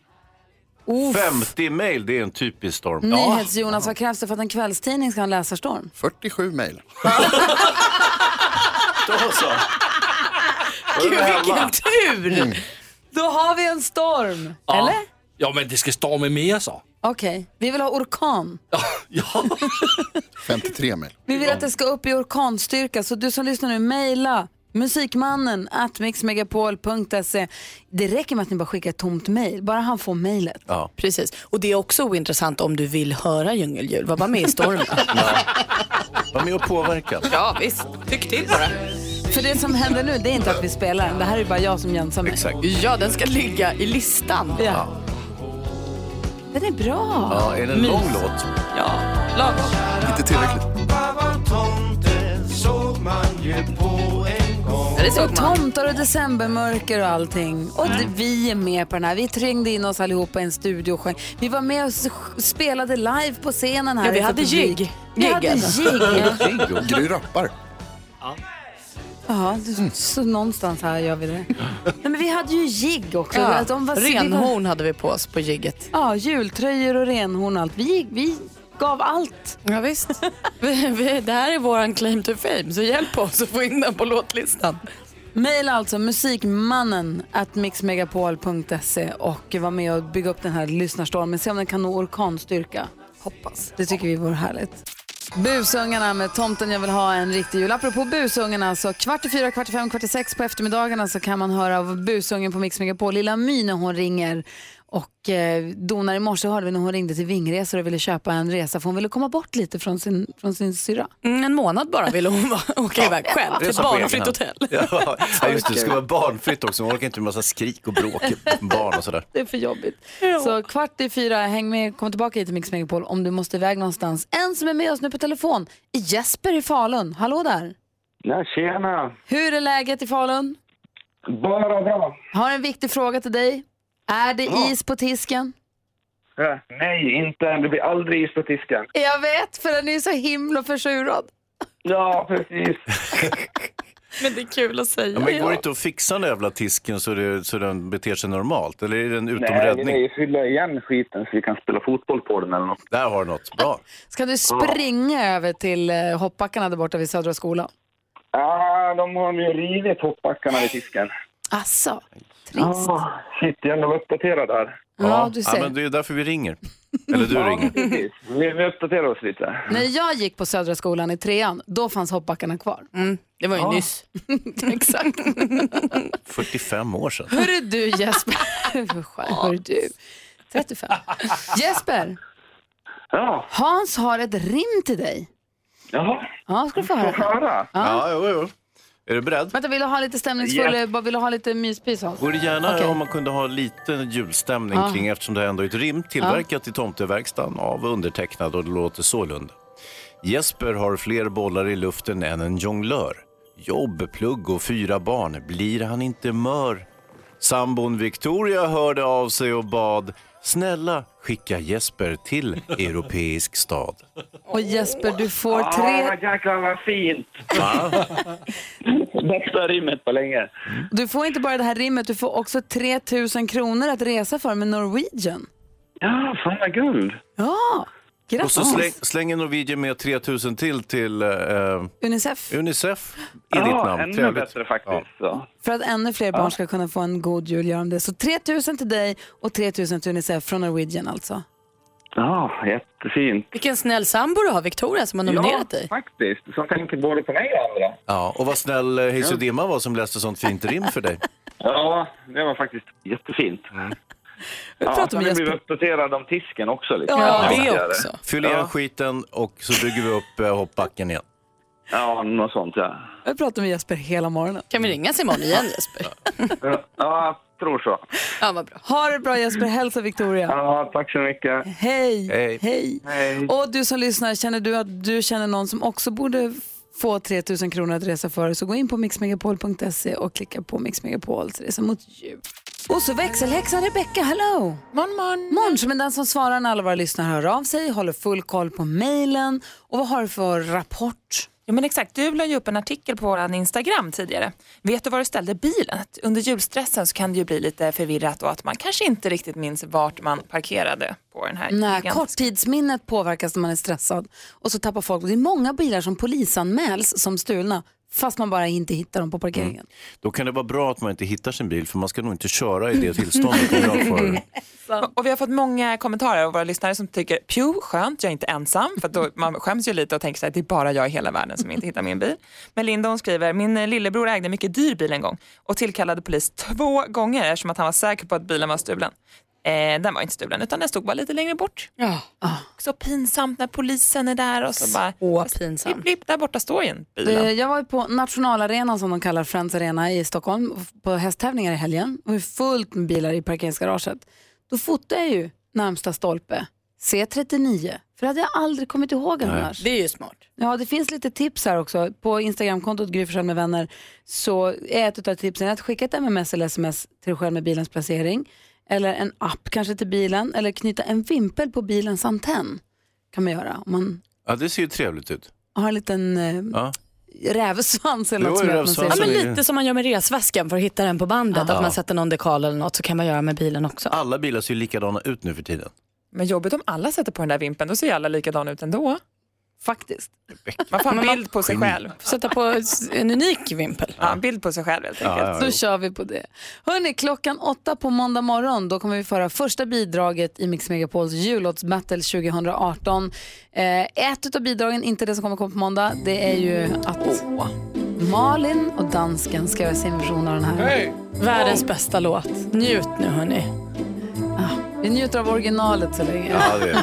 [SPEAKER 2] 50 mejl, det är en typisk storm.
[SPEAKER 1] Nyhets-Jonas, vad krävs det för att en kvällstidning ska ha en läsarstorm?
[SPEAKER 16] 47 mejl.
[SPEAKER 2] [LAUGHS] Då så.
[SPEAKER 1] Gud,
[SPEAKER 3] vilken
[SPEAKER 4] tur!
[SPEAKER 3] Mm.
[SPEAKER 1] Då har vi en storm,
[SPEAKER 3] Ja.
[SPEAKER 1] eller?
[SPEAKER 3] Ja, men det ska storma mer så.
[SPEAKER 1] Okej, vi vill ha orkan.
[SPEAKER 16] 53 mejl.
[SPEAKER 1] Vi vill att det ska upp i orkanstyrka, så du som lyssnar nu, mejla musikmannen at mixmegapol.se. Det räcker med att ni bara skickar ett tomt mejl, bara han får mejlet.
[SPEAKER 4] Precis, och det är också ointressant om du vill höra djungeljul, var bara med i stormen.
[SPEAKER 2] Var med och påverka.
[SPEAKER 4] ja, visst. Tyck till bara.
[SPEAKER 1] För det som händer nu, det är inte att vi spelar den. Det här är bara jag som jönsar mig.
[SPEAKER 2] Exakt.
[SPEAKER 4] Ja, den ska ligga i listan.
[SPEAKER 1] Ja. Den är bra.
[SPEAKER 2] Ja, är det en lång låt?
[SPEAKER 4] Ja, lagom.
[SPEAKER 16] Inte tillräckligt.
[SPEAKER 1] Det är och tomtar och decembermörker och allting. Och det,
[SPEAKER 4] Mm.
[SPEAKER 1] vi är med på den här. Vi trängde in oss allihopa i en studio och sjöng. Vi var med och s- spelade live på scenen här.
[SPEAKER 4] Ja, vi
[SPEAKER 1] inför
[SPEAKER 4] hade
[SPEAKER 1] publik.
[SPEAKER 4] jigg.
[SPEAKER 1] Vi
[SPEAKER 4] Jigg,
[SPEAKER 1] hade
[SPEAKER 4] alltså.
[SPEAKER 1] jigg. ja.
[SPEAKER 16] Gry rappar.
[SPEAKER 1] Ja, det- så någonstans här gör vi det. Nej, men vi hade ju jigg också.
[SPEAKER 4] Ja.
[SPEAKER 1] Att de var-
[SPEAKER 4] Renhorn hade vi på oss på jigget.
[SPEAKER 1] Ja, jultröjor och renhorn och allt. Vi, gick- vi gav allt.
[SPEAKER 4] Ja, visst. vi, vi, det här är våran claim to fame, så hjälp oss att få in den på låtlistan.
[SPEAKER 1] Maila alltså musikmannen at mixmegapol.se och var med och bygga upp den här lyssnarstormen. Se om den kan nå orkanstyrka. Hoppas. Det tycker vi vore härligt. Busungarna med Tomten jag vill ha en riktig jul. Apropå busungarna, så kvart i fyra, kvart i fem, kvart i sex på eftermiddagarna så kan man höra av busungen på Mix Megapol, Lilla My, när hon ringer Och eh, donar i morse hörde vi när hon ringde till Vingresor och ville köpa en resa för hon ville komma bort lite från sin, från sin syrra.
[SPEAKER 4] Mm, en månad bara ville hon vara- [LAUGHS] åka iväg själv Typ till ett
[SPEAKER 2] Resa på egen
[SPEAKER 4] barnfritt
[SPEAKER 2] hand.
[SPEAKER 4] hotell.
[SPEAKER 2] Ja, ja, just det. Det ska vara barnfritt också. Man orkar inte med massa skrik och bråk med barn och sådär.
[SPEAKER 1] Det är för jobbigt. Så kvart i fyra, häng med, kom tillbaka hit till Mix Megapol om du måste iväg någonstans. En som är med oss nu på telefon är Jesper i Falun. Hallå där!
[SPEAKER 26] Ja, tjena!
[SPEAKER 1] Hur är läget i Falun?
[SPEAKER 26] Bara bra.
[SPEAKER 1] Har en viktig fråga till dig. Är det
[SPEAKER 26] Ja.
[SPEAKER 1] is på tisken?
[SPEAKER 26] Ja, Nej, inte än. Det blir aldrig is på tisken.
[SPEAKER 1] Jag vet, för den är ju så himla försurad.
[SPEAKER 26] Ja, precis.
[SPEAKER 4] Men det är kul att säga.
[SPEAKER 2] Ja, men går det inte att fixa den jävla tisken så, det, så den beter sig normalt? Eller är den utom
[SPEAKER 26] Nej,
[SPEAKER 2] räddning?
[SPEAKER 26] nej, fylla igen skiten så vi kan spela fotboll på den eller något.
[SPEAKER 2] Där har du något. Bra.
[SPEAKER 1] Ska du springa över till eh, hoppbackarna där borta vid Södra skolan?
[SPEAKER 26] Ja, de har ju rivit hoppbackarna vid tisken.
[SPEAKER 1] Asså,
[SPEAKER 26] Trist. shit, jag är ändå uppdaterad där.
[SPEAKER 1] Ja, Ja, du ser.
[SPEAKER 2] men det är därför vi ringer. Eller du ringer.
[SPEAKER 26] Precis. Vi, vi uppdaterar oss lite.
[SPEAKER 1] När jag gick på Södra skolan i trean, då fanns hoppbackarna kvar.
[SPEAKER 4] det var ju
[SPEAKER 2] Ja.
[SPEAKER 4] nyss.
[SPEAKER 1] [LAUGHS] Exakt.
[SPEAKER 2] 45 år sedan.
[SPEAKER 1] Hörru du Jesper. Vad skär- [LAUGHS] Hörru du. 35. Jesper,
[SPEAKER 26] Ja,
[SPEAKER 1] Hans har ett rim till dig.
[SPEAKER 26] jaha.
[SPEAKER 1] Ja, ska du få höra.
[SPEAKER 2] Ja, jo, jo. Är du beredd?
[SPEAKER 1] Vänta, vill du ha lite stämningsfull,
[SPEAKER 2] Ja.
[SPEAKER 1] bara vill du ha lite myspys Hans?
[SPEAKER 2] Vore gärna
[SPEAKER 1] Okej.
[SPEAKER 2] om man kunde ha lite julstämning
[SPEAKER 1] Ja.
[SPEAKER 2] kring eftersom det ändå är ett rim tillverkat i tomteverkstan av undertecknad och det låter sålunda. Jesper har fler bollar i luften än en jonglör. Jobb, plugg och fyra barn. Blir han inte mör? Sambon Victoria hörde av sig och bad Snälla, skicka Jesper till
[SPEAKER 1] [LAUGHS]
[SPEAKER 2] europeisk stad.
[SPEAKER 1] Och Jesper, du får
[SPEAKER 26] Ah,
[SPEAKER 1] tre,
[SPEAKER 26] jäklar vad fint!
[SPEAKER 2] Va?
[SPEAKER 26] Bästa rimmet på länge.
[SPEAKER 1] [LAUGHS] du får inte bara det här rimmet, du får också 3 000 kronor att resa för med Norwegian.
[SPEAKER 26] Ja, fan vad guld.
[SPEAKER 1] Ja,
[SPEAKER 2] Och
[SPEAKER 1] grattis.
[SPEAKER 2] så släng, slänger Norwegian med 3000 till till eh,
[SPEAKER 1] Unicef.
[SPEAKER 2] Unicef i
[SPEAKER 26] Ja,
[SPEAKER 2] ditt namn.
[SPEAKER 26] ännu bättre
[SPEAKER 2] faktiskt.
[SPEAKER 1] För att ännu fler barn ska kunna få en god jul gör de det. Så 3 000 till dig och 3 000 till Unicef från Norwegian alltså.
[SPEAKER 26] Ja, jättefint.
[SPEAKER 4] Vilken snäll sambo du har, Victoria, som har nominerat dig.
[SPEAKER 26] Faktiskt, som tänker både på mig och andra.
[SPEAKER 2] Ja, och vad snäll eh, Hayes och Dimma var som läste sånt fint rim för dig. Mm.
[SPEAKER 26] Ja, det var faktiskt [LAUGHS] jättefint. Ja,
[SPEAKER 2] pratar
[SPEAKER 26] sen
[SPEAKER 2] med
[SPEAKER 26] vi
[SPEAKER 2] Jesper.
[SPEAKER 26] blev uppdaterade om tisken också. Liksom.
[SPEAKER 2] Ja, det
[SPEAKER 26] var
[SPEAKER 2] också. Fyll igen
[SPEAKER 26] Ja,
[SPEAKER 2] skiten och så bygger vi upp eh, hoppbacken igen.
[SPEAKER 26] ja, något sånt ja.
[SPEAKER 1] Jag pratar med Jesper hela morgonen.
[SPEAKER 4] Kan vi ringa sig imorgon igen Jesper?
[SPEAKER 26] Ja, jag tror så.
[SPEAKER 4] Ja, vad bra. Mm.
[SPEAKER 1] Ha det bra Jesper, hälsa Victoria.
[SPEAKER 26] Ja, tack så mycket.
[SPEAKER 1] Hej.
[SPEAKER 26] Hej.
[SPEAKER 1] Hej. Och du som lyssnar, känner du att du känner någon som också borde få 3 000 kronor att resa för så gå in på mixmegapol.se och klicka på Mix Megapols resa mot jul. Och så växelhäxan Rebecca, hello! Morgon, morgon! Morgon, som är den som svarar när alla våra lyssnare hör av sig, håller full koll på mejlen. Och vad har du för rapport?
[SPEAKER 6] Ja, men exakt. Du la ju upp en artikel på vår Instagram tidigare. Vet du var du ställde bilen? Att Under julstressen så kan det ju bli lite förvirrat och att man kanske inte riktigt minns vart man parkerade på den här
[SPEAKER 1] Nej,
[SPEAKER 6] gigantiska-
[SPEAKER 1] korttidsminnet påverkas när man är stressad och så tappar folk. Det är många bilar som polisanmäls som stulna fast man bara inte hittar dem på parkeringen.
[SPEAKER 2] Då kan det vara bra att man inte hittar sin bil för man ska nog inte köra i det tillståndet. om jag [LAUGHS] får...
[SPEAKER 6] Och vi har fått många kommentarer av våra lyssnare som tycker pju, skönt, jag är inte ensam. För att då, man skäms ju lite och tänker så här, det är bara jag i hela världen som inte hittar min bil. Men Linda hon skriver, min eh, lillebror ägde en mycket dyr bil en gång och tillkallade polis två gånger eftersom att han var säker på att bilen var stulen. Eh, den var inte stulen utan den stod bara lite längre bort.
[SPEAKER 4] Ja.
[SPEAKER 6] Så pinsamt när polisen är där och så bara,
[SPEAKER 4] Åh, pinsamt.
[SPEAKER 6] Blipp, blipp, där borta står ju en
[SPEAKER 1] Eh,
[SPEAKER 6] bilen.
[SPEAKER 1] Jag var ju på nationalarenan som de kallar Friends Arena i Stockholm på hästtävlingar i helgen. Det var ju fullt med bilar i parkeringsgaraget. Då fotade jag ju närmsta stolpe, C39. För det hade jag aldrig kommit ihåg annars.
[SPEAKER 4] Det är ju smart.
[SPEAKER 1] Ja, det finns lite tips här också. På Instagramkontot Gry Forssell med vänner så är ett av tipsen att skicka ett MMS eller SMS till dig själv med bilens placering. Eller en app kanske till bilen. Eller knyta en vimpel på bilens antenn. Kan man göra om man
[SPEAKER 2] Ja, det ser ju trevligt ut.
[SPEAKER 1] har en liten eh,
[SPEAKER 2] Ja.
[SPEAKER 1] rävsvans eller
[SPEAKER 2] Jo,
[SPEAKER 1] något som gör att man ser
[SPEAKER 4] Ja, men lite som man gör med resväskan för att hitta den på bandet.
[SPEAKER 2] Ja.
[SPEAKER 4] Att man sätter någon dekal eller något så kan man göra med bilen också.
[SPEAKER 2] Alla bilar ser ju likadana ut nu för tiden.
[SPEAKER 6] Men jobbigt om alla sätter på den där vimpeln, då ser ju alla likadana ut ändå.
[SPEAKER 1] Faktiskt.
[SPEAKER 6] Man får en
[SPEAKER 4] Men man-
[SPEAKER 6] bild på sig
[SPEAKER 4] Geni.
[SPEAKER 6] själv.
[SPEAKER 4] Sätta på en unik vimpel.
[SPEAKER 6] Ja, en bild på sig själv
[SPEAKER 1] [LAUGHS]
[SPEAKER 6] helt enkelt.
[SPEAKER 1] Så kör vi på det. Hörni, klockan åtta på måndag morgon då kommer vi föra första bidraget i Mix Megapols jullåtsbattle 2018. Eh, ett av bidragen, inte det som kommer komma på måndag, det är ju att Malin och dansken ska göra sin version av den här.
[SPEAKER 4] Världens bästa låt. Njut nu hörni.
[SPEAKER 1] Ah,
[SPEAKER 27] Vi njuter av originalet så länge.
[SPEAKER 4] Ja, det är.